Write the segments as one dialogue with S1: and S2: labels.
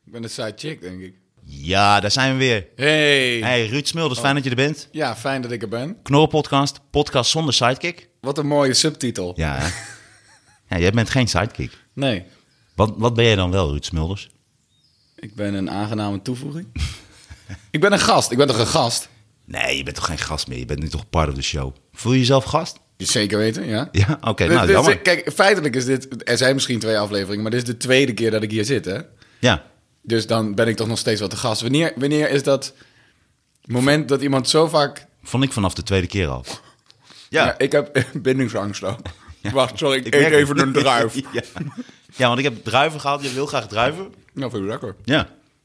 S1: ben een side chick, denk ik.
S2: Ja, daar zijn we weer.
S1: Hey.
S2: Hey, Ruud Smulders, fijn dat je er bent.
S1: Ja, fijn dat ik er ben.
S2: Knorrenpodcast, podcast zonder sidekick.
S1: Wat een mooie subtitel.
S2: Ja, hè? ja jij bent geen sidekick.
S1: Nee,
S2: Wat, wat ben jij dan wel, Ruud dus? Smulders?
S1: ik ben een aangename toevoeging. ik ben een gast. Ik ben toch een gast?
S2: Nee, je bent toch geen gast meer? Je bent nu toch part of the show? Voel je jezelf gast?
S1: Zeker weten, ja.
S2: Ja, oké,
S1: Dit-
S2: nou
S1: dit-
S2: jammer.
S1: kijk, feitelijk is dit... Er zijn misschien twee afleveringen, maar dit is de tweede keer dat ik hier zit, hè?
S2: Ja,
S1: Dus dan ben ik toch nog steeds wat de gast. Wanneer, wanneer is dat moment dat iemand zo vaak...
S2: vond ik vanaf de tweede keer al. Ja,
S1: ik heb bindingsangst ook. Wacht, sorry, ik,
S2: ik
S1: eet
S2: merk
S1: even
S2: het.
S1: een druif.
S2: ja. ja, want ik heb druiven gehaald. Je wil graag druiven?
S1: Nou, vind ik lekker.
S2: Ja.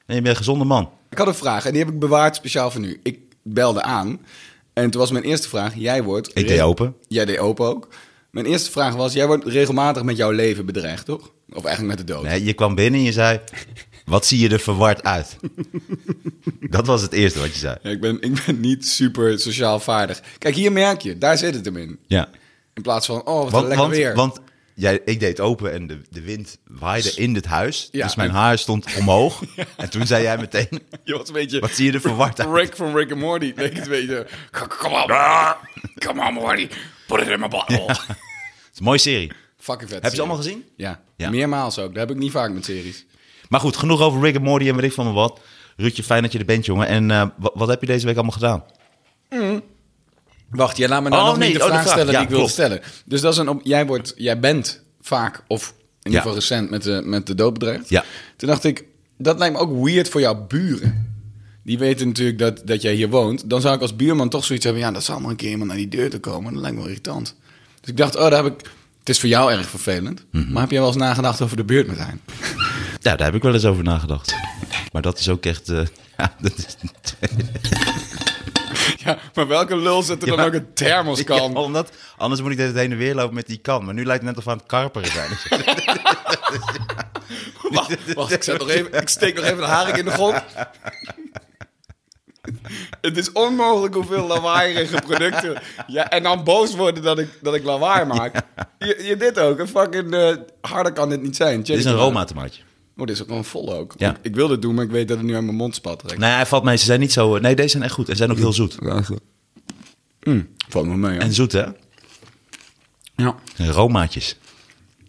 S2: En je bent een gezonde man.
S1: Ik had een vraag en die heb ik bewaard speciaal voor nu. Ik belde aan en toen was mijn eerste vraag: jij wordt.
S2: Ik deed open.
S1: Jij deed open ook. Mijn eerste vraag was: jij wordt regelmatig met jouw leven bedreigd, toch? Of eigenlijk met de dood?
S2: Nee, je kwam binnen en je zei... Wat zie je er verward uit? Dat was het eerste wat je zei.
S1: Ja, ik, ben, ik ben niet super sociaal vaardig. Kijk, hier merk je, daar zit het hem in.
S2: Ja.
S1: In plaats van: oh, wat een
S2: Want,
S1: lekker
S2: want,
S1: weer.
S2: want jij, ik deed open en de, de wind waaide in dit huis.
S1: Ja.
S2: Dus mijn haar stond omhoog. En toen zei jij meteen...
S1: je was een beetje.
S2: Wat zie je er verward uit?
S1: Rick van Rick and Morty. Leek het een beetje. Kom op, kom op, Morty. Put it in my bottle.
S2: Het is een mooie serie.
S1: Fucking vet.
S2: Heb je ze
S1: serie.
S2: allemaal gezien?
S1: Ja.
S2: Ja.
S1: meermaals ook. Dat heb ik niet vaak met series.
S2: Maar goed, genoeg over Rick en Morty en weet ik van me wat. Ruudje, fijn dat je er bent, jongen. En eh, wat, wat heb je deze week allemaal gedaan?
S1: Wacht, jij laat me nou
S2: Oh,
S1: nog
S2: nee,
S1: niet de
S2: oh, de
S1: vraag
S2: vraag.
S1: stellen
S2: Ja,
S1: die ik wilde
S2: klopt.
S1: stellen. Dus dat is een op, jij, wordt, jij bent vaak, of in ieder geval recent, met de, met de dood bedreigd.
S2: Ja.
S1: Toen dacht ik, dat lijkt me ook weird voor jouw buren. Die weten natuurlijk dat, dat jij hier woont. Dan zou ik als buurman toch zoiets hebben. Ja, dat zal maar een keer iemand naar die deur te komen. Dat lijkt me wel irritant. Dus ik dacht, oh, daar heb ik... Het is voor jou erg vervelend.
S2: Mhm.
S1: Maar heb jij wel eens nagedacht over de buurt met zijn?
S2: Ja, daar heb ik wel eens over nagedacht. Maar dat is ook echt... eh, ja, dat is,
S1: Ja, maar welke lul zet er
S2: Ja.
S1: dan ook een thermoskan?
S2: Ja, omdat, anders moet ik deze heen en weer lopen met die kan. Maar nu lijkt het net of we aan het karperen zijn.
S1: Wacht, wacht ik, zet nog even, ik steek nog even de haring in de grond. Het is onmogelijk hoeveel lawaaierige producten. Ja, en dan boos worden dat ik, dat ik lawaai maak. Je, je dit ook, een fucking... eh, harder kan dit niet zijn.
S2: Dit is een Roma-tomaatje.
S1: Oh, dit is ook wel een volle ook.
S2: Ja.
S1: Ik, ik wil dit doen, maar ik weet dat het nu uit mijn mond spat. trekt.
S2: Nee, hij valt mee. Ze zijn niet zo... Nee, deze zijn echt goed. En ze zijn ook heel zoet.
S1: Nou, Mm, valt me mee, ja.
S2: En zoet, hè?
S1: ja.
S2: Romaatjes.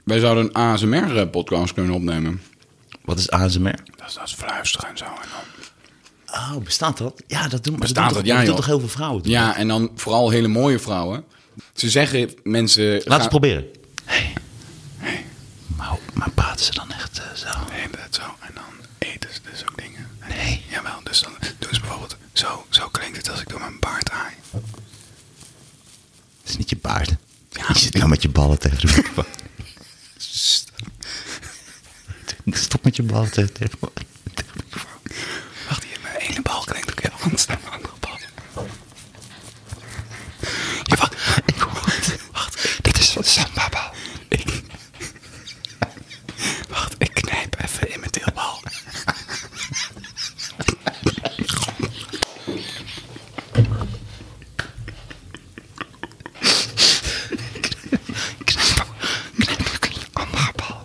S1: Wij zouden een ASMR-podcast kunnen opnemen.
S2: Wat is ASMR?
S1: Dat is, dat is fluisteren en zo. En dan...
S2: Oh, bestaat dat? Ja, dat doen,
S1: Bestaat
S2: dat doen,
S1: dat? Ja,
S2: dat doen
S1: joh.
S2: toch heel veel vrouwen? toch?
S1: Ja, en dan vooral hele mooie vrouwen. Ze zeggen mensen.
S2: Laten we
S1: ga-
S2: het proberen. Hey. Maar, maar praten ze dan echt eh, zo?
S1: De hele tijd zo. En dan eten ze dus ook dingen. En
S2: Nee.
S1: Jawel, dus dan doen ze bijvoorbeeld... Zo, zo klinkt het als ik door mijn baard haai.
S2: Het is niet je baard. je zit nou met je ballen tegen de microfoon. Stop met je ballen tegen de microfoon.
S1: Wacht, hier, mijn ene bal klinkt ook heel anders dan mijn andere bal. Ja, wacht. Ik hoor het. Wacht, dit is van Sambaba. Ik... Wacht, ik knijp even in mijn teelbal. Knijp, knijp ook in je andere bal.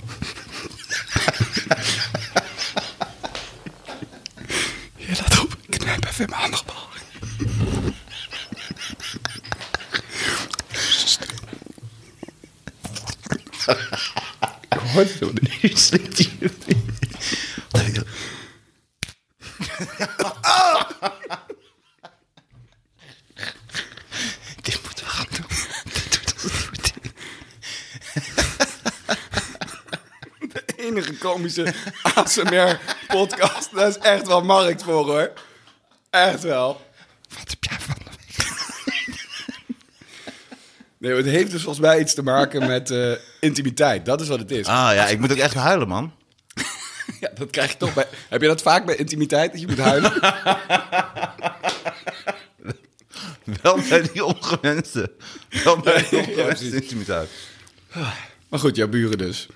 S1: Ja, laat op. Knijp even in mijn andere bal.
S2: Nu slikt hij hem in. Wat heb ik dan- Ah! Dit moeten we gaan doen. Dit doet ons goed.
S1: enige komische ASMR-podcast. Daar is echt wel markt voor, hoor. Echt wel.
S2: Wat heb jij van de week?
S1: Nee, het heeft dus volgens mij iets te maken met eh, intimiteit. Dat is wat het is.
S2: Ah ja, ik moet ook echt huilen, man.
S1: Ja, dat krijg je toch bij... Heb je dat vaak bij intimiteit, dat je moet huilen?
S2: Wel bij die ongewenste. Wel bij die
S1: Ja, precies.
S2: ongewenste intimiteit.
S1: maar goed, jouw buren dus.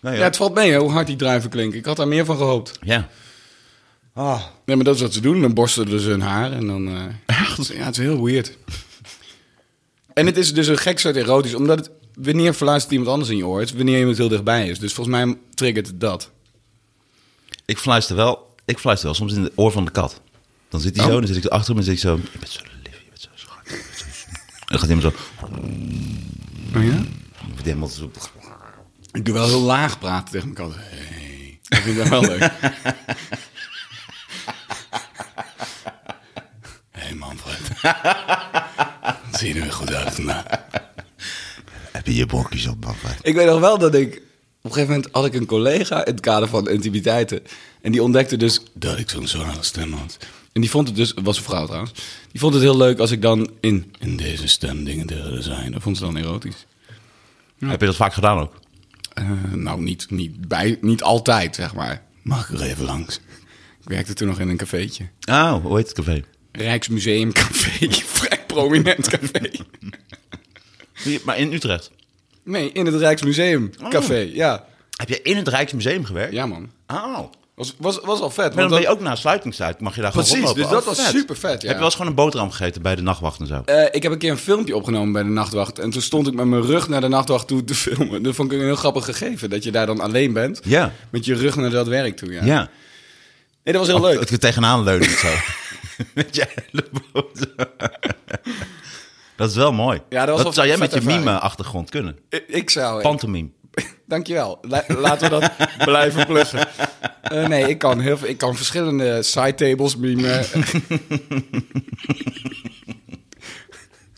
S2: Nee,
S1: Ja, het valt mee, hè, hoe hard die druiven klinken. Ik had daar meer van gehoopt.
S2: ja. Ah.
S1: Nee, maar dat is wat ze doen. Dan borstelen ze dus hun haar en dan... Echt? Ja, het is heel weird. En het is dus een gek soort erotisch, omdat het... Wanneer verluistert iemand anders in je oor? Het is wanneer iemand heel dichtbij is. Dus volgens mij triggert het dat.
S2: Ik fluister wel, ik fluister wel soms in het oor van de kat. Dan zit hij
S1: Oh.
S2: zo, dan zit ik achter hem en dan zit ik zo... Je bent zo lief, je bent zo schat. je bent zo lief." En dan gaat hij hem zo...
S1: Oh ja?
S2: dan wordt hij helemaal zo-
S1: Ik doe wel heel laag praten tegen mijn kat. Hey. Dat vind ik dan wel leuk. hey Manfred. Het ziet er weer goed uit vandaag.
S2: Heb je je bokjes op, man?
S1: Ik weet nog wel dat ik... Op een gegeven moment had ik een collega in het kader van intimiteiten. En die ontdekte dus dat ik zo'n zware stem had. En die vond het dus... Het was een vrouw trouwens. Die vond het heel leuk als ik dan in... In deze stem dingen te horen zijn. Dat vond ze dan erotisch.
S2: Heb je dat vaak gedaan ook?
S1: Eh, nou, niet, niet, bij, niet altijd, zeg maar. Mag ik er even langs? Ik werkte toen nog in een cafeetje.
S2: Oh, hoe heet het café?
S1: Rijksmuseumcafé. Vrij prominent café.
S2: Hier, Maar in Utrecht.
S1: Nee, in het Rijksmuseumcafé. Ja.
S2: Heb je in het Rijksmuseum gewerkt?
S1: Oh. ja, man.
S2: Oh.
S1: Was, was, was al vet.
S2: Maar dan
S1: want
S2: ben je
S1: dat-
S2: ook na sluitingstijd, mag je daar
S1: Precies,
S2: gewoon rondlopen.
S1: dus dat
S2: Oh,
S1: was supervet, ja.
S2: Heb je wel eens gewoon een boterham gegeten bij de nachtwacht en zo?
S1: eh, ik heb een keer een filmpje opgenomen bij de nachtwacht. En toen stond ik met mijn rug naar de nachtwacht toe te filmen. Dat vond ik een heel grappig gegeven. Dat je daar dan alleen bent.
S2: Ja.
S1: Met je rug naar dat werk toe. Ja.
S2: Ja.
S1: Nee, dat was heel leuk.
S2: Het, het tegenaan leunen en zo. Met je elleboog zo. Dat is wel mooi.
S1: Ja, dat was wel
S2: zou jij
S1: vet
S2: met je
S1: ervaring.
S2: mime-achtergrond kunnen.
S1: Ik- Ik zou...
S2: Pantomime.
S1: Dankjewel. La- laten we dat blijven pluggen. Eh, nee, ik kan, heel, veel- ik kan verschillende side tables mimen.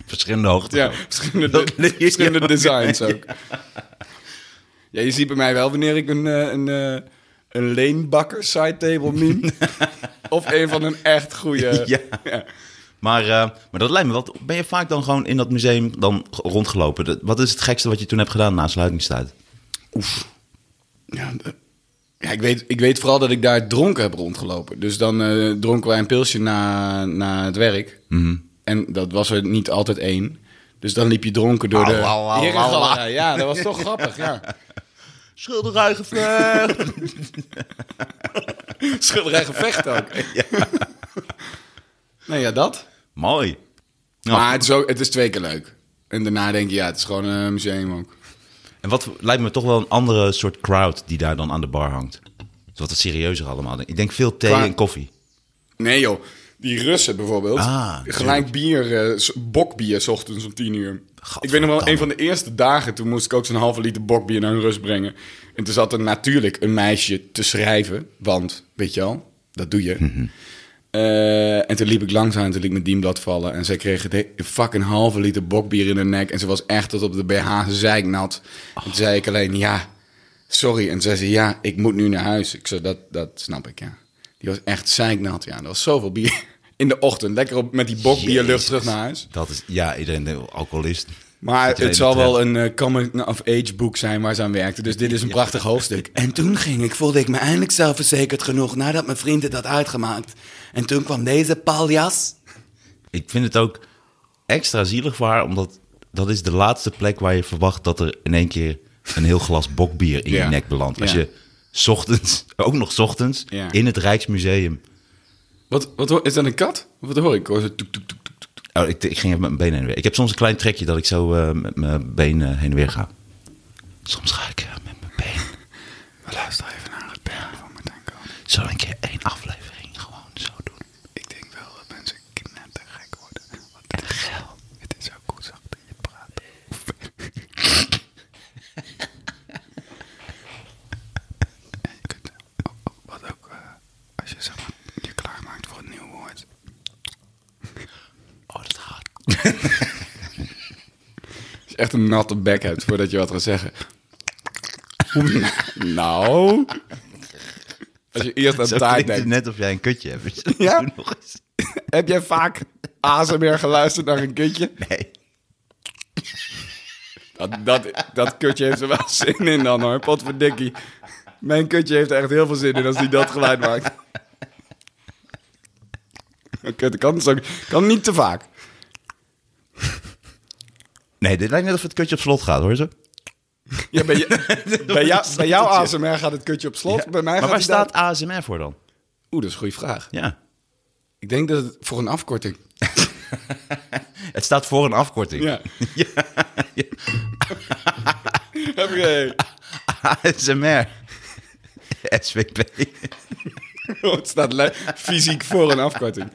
S2: Verschillende hoogte.
S1: ja, verschillende,
S2: Dat leer je
S1: verschillende
S2: ook.
S1: designs ook. Ja, je ziet bij mij wel wanneer ik een, eh, een, eh, een leenbakker side table meme. of een van een echt goede...
S2: Ja. Maar, eh, maar dat lijkt me wel. Ben je vaak dan gewoon in dat museum dan g- rondgelopen? Dat- Wat is het gekste wat je toen hebt gedaan na sluitingstijd?
S1: Oef. Ja, de- ja, ik, weet, ik weet vooral dat ik daar dronken heb rondgelopen. Dus dan eh, dronken wij een pilsje na, na het werk.
S2: Mhm.
S1: En dat was er niet altijd één. Dus dan liep je dronken door de...
S2: Au, au, au,
S1: Herengalerij.
S2: au, au.
S1: Ja, dat was toch grappig, ja.
S2: Schilderij gevlucht.
S1: Schilderij gevecht ook. nou ja, dat.
S2: mooi. Nou,
S1: Maar het is, ook, het is twee keer leuk. En daarna denk je, ja, het is gewoon een museum ook.
S2: En wat lijkt me toch wel een andere soort crowd die daar dan aan de bar hangt. Dus wat het serieuzer allemaal. Ik denk veel thee
S1: Qua-
S2: en koffie.
S1: Nee joh, die Russen bijvoorbeeld.
S2: Ah,
S1: gelijk bier, eh, s- bokbier, s ochtends om tien uur. Ik weet nog wel,
S2: Gadverdamme.
S1: een van de eerste dagen, toen moest ik ook zo'n halve liter bokbier naar een Rus brengen. En toen zat er natuurlijk een meisje te schrijven, want, weet je wel, dat doe je.
S2: Mhm.
S1: Eh, en toen liep ik langzaam, toen liet ik mijn dienblad vallen. En zij kreeg het he- een fucking halve liter bokbier in haar nek. En ze was echt tot op de BH zeiknat. En toen zei ik alleen, ja, sorry. En zei ze, ja, ik moet nu naar huis. Ik zei, dat, dat snap ik, ja. Die was echt zeiknat, ja. Er was zoveel bier in de ochtend. Lekker op, met die bokbierlucht
S2: Jezus.
S1: terug naar huis.
S2: Dat is, ja, iedereen denkt, oh, alcoholist.
S1: Maar
S2: Dat je
S1: het
S2: weet
S1: zal
S2: niet,
S1: wel een eh, coming-of-age boek zijn waar ze aan werkte. Dus dit is een prachtig hoofdstuk. En toen ging ik, voelde ik me eindelijk zelfverzekerd genoeg nadat mijn vriend het had uitgemaakt. En toen kwam deze paljas.
S2: Ik vind het ook extra zielig voor haar, omdat dat is de laatste plek waar je verwacht dat er in één keer een heel glas bokbier in
S1: Ja.
S2: je nek belandt. Als
S1: Ja.
S2: je 's ochtends, ook nog 's ochtends,
S1: Ja.
S2: in het Rijksmuseum.
S1: Wat, wat hoor- is dat een kat? Of Wat hoor ik? Ik Hoor zo toek, toek, toek, toek, toek.
S2: Oh, ik, ik ging even met mijn benen heen en weer. Ik heb soms een klein trekje dat ik zo eh, met mijn benen heen en weer ga. Soms ga ik eh, met mijn been
S1: Luister even naar het berg van Martijn Koning.
S2: zo een keer één aflevering gewoon zo doen.
S1: Ik denk wel dat mensen knettergek worden. Want het is geld. Het is ook goed zacht dat je praat. en je kunt ook- ook- wat ook, eh, als je zeg maar, je klaarmaakt voor een nieuw woord.
S2: Oh, dat gaat.
S1: Als je echt een natte bek hebt voordat je wat gaat zeggen. nou. Als je eerst aan
S2: Zo
S1: taart
S2: klinkt het
S1: denkt.
S2: net of jij een kutje hebt.
S1: Ja?
S2: Doe nog eens.
S1: Heb jij vaak ASMR geluisterd naar een kutje?
S2: Nee.
S1: Dat, dat, dat kutje heeft er wel zin in dan hoor, potverdikkie. Mijn kutje heeft er echt heel veel zin in als hij dat geluid maakt. Oké, dat kan, dus ook- kan niet te vaak.
S2: Nee, dit lijkt net of het kutje op slot gaat, hoor zo.
S1: Ja, bij, je, bij, jou, bij jouw ASMR gaat het kutje op slot,
S2: Ja.
S1: bij mij
S2: maar
S1: gaat
S2: waar
S1: hij dan-
S2: staat ASMR voor dan?
S1: Oeh, dat is een goede vraag.
S2: Ja.
S1: Ik denk dat het voor een afkorting.
S2: Het staat voor een afkorting.
S1: Ja. Heb je...
S2: ASMR. SWP.
S1: Oh, Het staat le- fysiek voor een afkorting.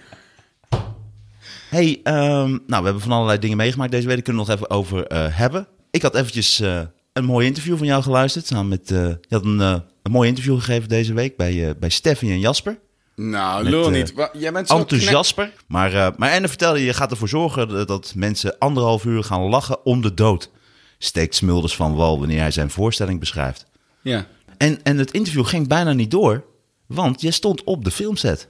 S2: hey, ehm, nou, we hebben van allerlei dingen meegemaakt deze week. Daar kunnen we nog even over eh, hebben. Ik had eventjes eh, een mooi interview van jou geluisterd. Samen met, eh, je had een, eh, een mooi interview gegeven deze week bij, eh, bij Stefanie en Jasper.
S1: Nou,
S2: Met,
S1: lul
S2: eh,
S1: niet. Wa- Jij bent zo
S2: Enthousiasper. Maar, eh, maar en dan vertelde je, je gaat ervoor zorgen dat- dat mensen anderhalf uur gaan lachen om de dood. Steekt Smulders van wal wanneer hij zijn voorstelling beschrijft.
S1: knek- Ja.
S2: En, en het interview ging bijna niet door, want je stond op de filmset.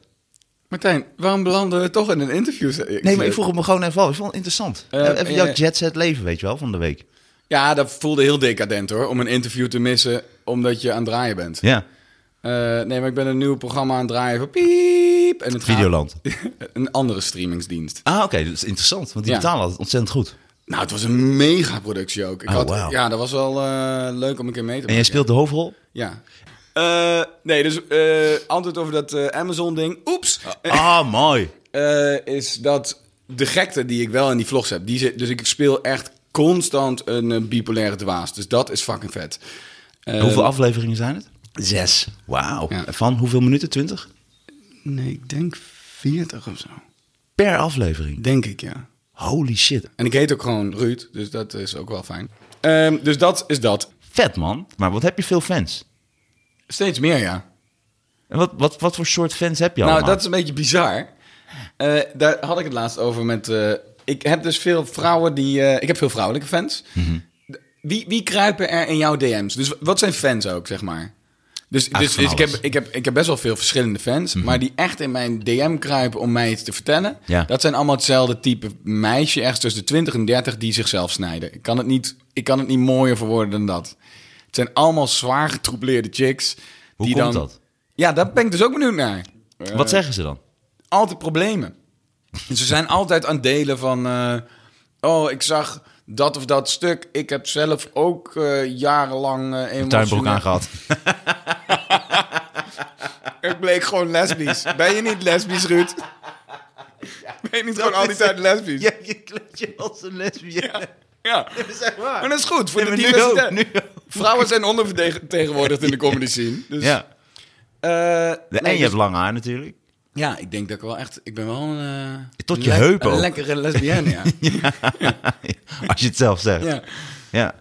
S1: Martijn, waarom belanden we toch in een interview?
S2: Nee, maar ik vroeg het me gewoon even af. Ik vond het interessant.
S1: Eh,
S2: even even
S1: ja,
S2: jouw
S1: ja.
S2: jetset leven, weet je wel, van de week.
S1: Ja, dat voelde heel decadent hoor. Om een interview te missen omdat je aan het draaien bent.
S2: Ja,
S1: Eh, nee, maar ik ben een nieuw programma aan het draaien voor piep. En het gaat-
S2: Videoland.
S1: een andere streamingsdienst.
S2: Ah, oké, dat is interessant, want die
S1: Ja.
S2: betalen altijd ontzettend goed.
S1: Nou, het was een mega productie ook. Ik
S2: Oh,
S1: had,
S2: wauw.
S1: Ja, dat was wel eh, leuk om een keer mee te maken.
S2: En jij speelt de hoofdrol?
S1: Ja. Eh, nee, dus eh, antwoord over dat eh, Amazon-ding. Oeps!
S2: Ah, mooi.
S1: Eh, is dat de gekte die ik wel in die vlogs heb. Die zit, dus ik speel echt constant een eh, bipolaire dwaas. Dus dat is fucking vet. Eh,
S2: Hoeveel afleveringen zijn het?
S1: Zes.
S2: Wauw.
S1: Ja.
S2: Van hoeveel minuten? Twintig?
S1: Nee, ik denk veertig of zo.
S2: Per aflevering.
S1: Denk ik, ja.
S2: Holy shit.
S1: En ik heet ook gewoon Ruud, dus dat is ook wel fijn. Ehm, dus dat is dat.
S2: Vet, man. Maar wat heb je veel fans?
S1: Steeds meer, ja.
S2: En wat, wat, wat voor soort fans heb je
S1: Nou,
S2: allemaal?
S1: dat is een beetje bizar. Eh, daar had ik het laatst over met... eh, ik heb dus veel vrouwen die... eh, ik heb veel vrouwelijke fans.
S2: Mhm.
S1: Wie, wie kruipen er in jouw DM's? Dus wat zijn fans ook, zeg maar? Dus,
S2: Ach,
S1: dus,
S2: van
S1: dus ik, heb,
S2: alles. Mhm.
S1: ik, heb, ik heb best wel veel verschillende fans. Maar die echt in mijn DM kruipen om mij iets te vertellen.
S2: Ja.
S1: Dat zijn allemaal hetzelfde type meisje. Ergens tussen de 20 en 30 die zichzelf snijden. Ik kan het niet, ik kan het niet mooier verwoorden dan dat. Het zijn allemaal zwaar getroubleerde chicks.
S2: Hoe
S1: die
S2: komt
S1: dan, eh,
S2: dat?
S1: Ja, daar ben ik dus ook benieuwd naar
S2: Wat zeggen ze dan?
S1: altijd problemen. Ze zijn altijd aan het delen van... eh, oh, ik zag dat of dat stuk. Ik heb zelf ook eh, jarenlang eh emotioneel...
S2: Tuinbroek aangehad.
S1: Ik bleek gewoon lesbisch. Ben je niet lesbisch, Ruud? ben je niet gewoon al die tijd lesbisch? Ja.
S2: je kleed je als een lesbienne. Dat is echt waar.
S1: Maar dat is goed voor
S2: Nee,
S1: de
S2: maar nu ook,
S1: diversiteit.
S2: nu ook.
S1: Vrouwen zijn ondervertegenwoordigd in de comedy scene. Dus,
S2: Ja.
S1: eh,
S2: En
S1: nee, dus-
S2: je hebt lang haar natuurlijk.
S1: Ja, ik denk dat ik wel echt... Ik ben wel een... eh,
S2: Tot je
S1: lek-
S2: heup
S1: Een
S2: ook.
S1: lekkere lesbienne, ja.
S2: Als je het zelf zegt. Ja.
S1: ja.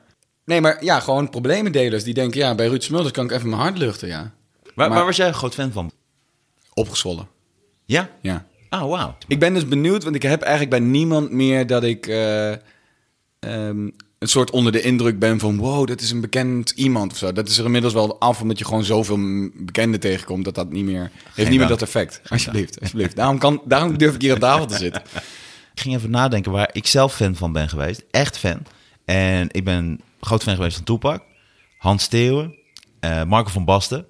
S1: Nee, maar ja, gewoon problemendelers die denken... Ja, bij Ruud Smulders kan ik even mijn hart luchten, ja.
S2: Waar,
S1: Maar-
S2: waar was jij een groot fan van?
S1: Opgezwollen.
S2: Ja?
S1: Ja.
S2: Ah, wauw.
S1: Ik ben dus benieuwd, want ik heb eigenlijk bij niemand meer dat ik eh, ehm, een soort onder de indruk ben van wow, dat is een bekend iemand of zo. Dat is er inmiddels wel af, omdat je gewoon zoveel m- bekenden tegenkomt dat dat niet meer heeft niet meer
S2: dank.
S1: dat effect. Alsjeblieft, alsjeblieft. Daarom, kan, daarom durf ik hier aan tafel te zitten.
S2: Ik ging even nadenken waar ik zelf fan van ben geweest. Echt fan. En ik ben groot fan geweest van Tupac, Hans Steeuwen, eh, Marco van Basten.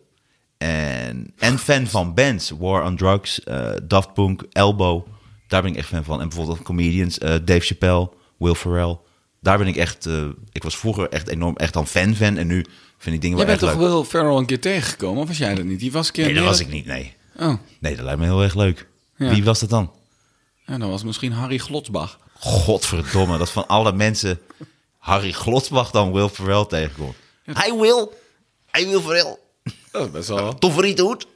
S2: En, en fan van bands. War on Drugs, eh, Daft Punk, Elbow. Daar ben ik echt fan van. En bijvoorbeeld comedians, eh, Dave Chappelle, Will Ferrell. Daar ben ik echt... eh, ik was vroeger echt enorm echt dan fan-fan. En nu vind ik dingen
S1: Jij
S2: wel
S1: bent
S2: echt
S1: toch
S2: leuk.
S1: Will Ferrell een keer tegengekomen, of was jij dat niet? Die was een keer...
S2: Nee, dat was
S1: meer-
S2: ik niet, nee.
S1: Oh,
S2: Nee, dat lijkt me heel erg leuk.
S1: Ja.
S2: Wie was dat dan?
S1: ja, dat was misschien Harry Glotsbach.
S2: Godverdomme, dat van alle mensen Harry Glotsbach dan Will Ferrell tegenkomt. Hij wil. Hij wil Ferrell.
S1: Dat is best wel...
S2: Tofferie hoed.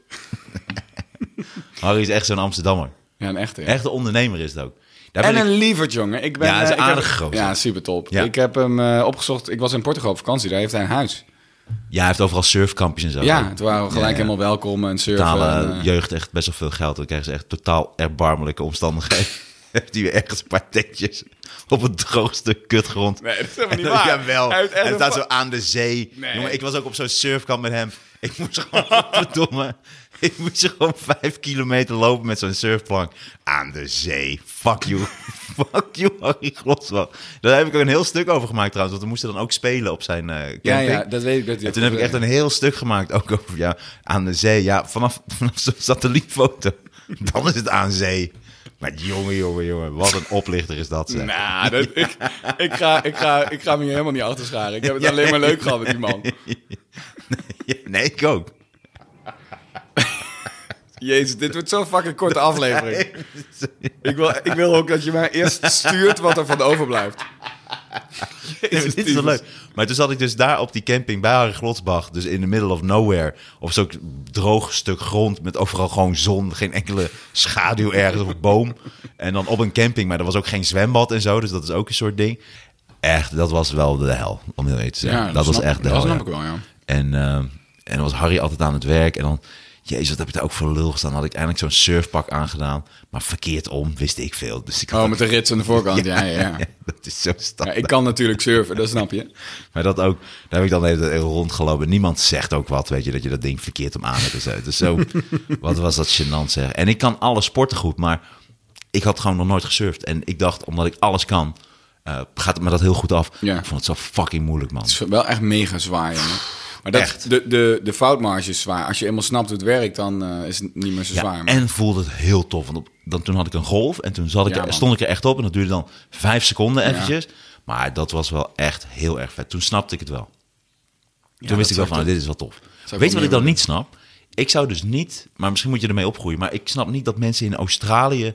S2: Harry is echt zo'n Amsterdammer.
S1: Ja, een echte.
S2: Echt een ondernemer is het ook. Daar
S1: En
S2: ben
S1: een
S2: ik-
S1: lieverd, jongen. Ik ben,
S2: Ja, hij is
S1: eh, ik
S2: aardig
S1: heb-
S2: gozer.
S1: Ja, super top.
S2: Ja.
S1: Ik heb hem eh, opgezocht. Ik was in Portugal op vakantie. Daar heeft hij een huis.
S2: Ja, hij heeft overal surfkampjes en zo.
S1: Ja, het waren we gelijk
S2: Oh. Ja, ja.
S1: helemaal welkom en surfen.
S2: Totale
S1: en, eh,
S2: jeugd echt best wel veel geld. Dan krijgen ze echt totaal erbarmelijke omstandigheden. heeft hij weer ergens een paar tentjes op een droog stuk kutgrond.
S1: Nee, dat is helemaal niet
S2: En dan-
S1: waar.
S2: Jawel.
S1: Hij heeft echt
S2: Hij
S1: een
S2: staat
S1: fa-
S2: zo aan de zee.
S1: Nee.
S2: Jongen, ik was ook op zo'n surfkamp met hem. Ik moest gewoon, verdomme, ik moest gewoon vijf kilometer lopen met zo'n surfplank. Aan de zee. Fuck you. Fuck you, Harry Glotswag. Daar heb ik ook een heel stuk over gemaakt trouwens. Want we moesten dan ook spelen op zijn eh camping.
S1: ja, ja, dat weet ik. Dat hij
S2: En
S1: dat
S2: toen heb ik
S1: vertelde.
S2: echt een heel stuk gemaakt, ook over ja, aan de zee. Ja, vanaf, vanaf zo'n satellietfoto. Dan is het aan zee. Maar jongen, jongen, jongen, wat een oplichter is dat. Zeg.
S1: Nou, dat, ik, ik, ga, ik, ga, ik ga me hier helemaal niet achter scharen. Ik heb het alleen maar leuk gehad met die man.
S2: Ja, nee, ik ook.
S1: Jezus, dit wordt zo'n fucking korte aflevering. Ik wil, ik wil ook dat je mij eerst stuurt wat er van overblijft.
S2: Nee, maar dit is wel leuk. Maar toen zat ik dus daar op die camping bij Harry Glotsbach, dus in the middle of nowhere, op zo'n droog stuk grond met overal gewoon zon, geen enkele schaduw ergens of boom. En dan op een camping, maar er was ook geen zwembad en zo, dus dat is ook een soort ding. Echt, dat was wel de hel, om heel eerlijk te zeggen.
S1: Ja,
S2: dat
S1: dat
S2: was
S1: snap-
S2: echt de
S1: dat
S2: hel.
S1: snap ik wel, ja.
S2: En, ehm, en dan was Harry altijd aan het werk. En dan, jezus, wat heb je daar ook voor lul gestaan? Had ik eindelijk zo'n surfpak aangedaan. Maar verkeerd om, wist ik veel. Dus ik had
S1: Oh, met de rits aan de voorkant. Ja, ja, ja.
S2: dat is zo standaard.
S1: Ja, ik kan natuurlijk surfen, dat snap je.
S2: Maar dat ook, daar heb ik dan even rondgelopen. Niemand zegt ook wat, weet je, dat je dat ding verkeerd om aan hebt. en zo. Dus zo, wat was dat gênant zeg. En ik kan alle sporten goed, maar ik had gewoon nog nooit gesurfd. En ik dacht, omdat ik alles kan, eh, gaat het me dat heel goed af.
S1: Ja.
S2: Ik vond het zo fucking moeilijk, man.
S1: Het is wel echt mega zwaar, jongen. Maar dat,
S2: Echt.
S1: De, de, de foutmarge is zwaar. Als je eenmaal snapt hoe het werkt, dan eh, is het niet meer zo
S2: Ja,
S1: zwaar. Maar
S2: en voelde het heel tof. Want op, dan, toen had ik een golf en toen zat ik
S1: Ja,
S2: er,
S1: man.
S2: stond ik er echt op. En dat duurde dan vijf seconden eventjes. Maar dat was wel echt heel erg vet. Toen snapte ik het wel. Toen wist ik
S1: zou
S2: wel van, nou, dit is wel tof.
S1: wel
S2: Weet je wat
S1: meer
S2: ik dan
S1: willen.
S2: niet snap? Ik zou dus niet, maar misschien moet je ermee opgroeien. Maar ik snap niet dat mensen in Australië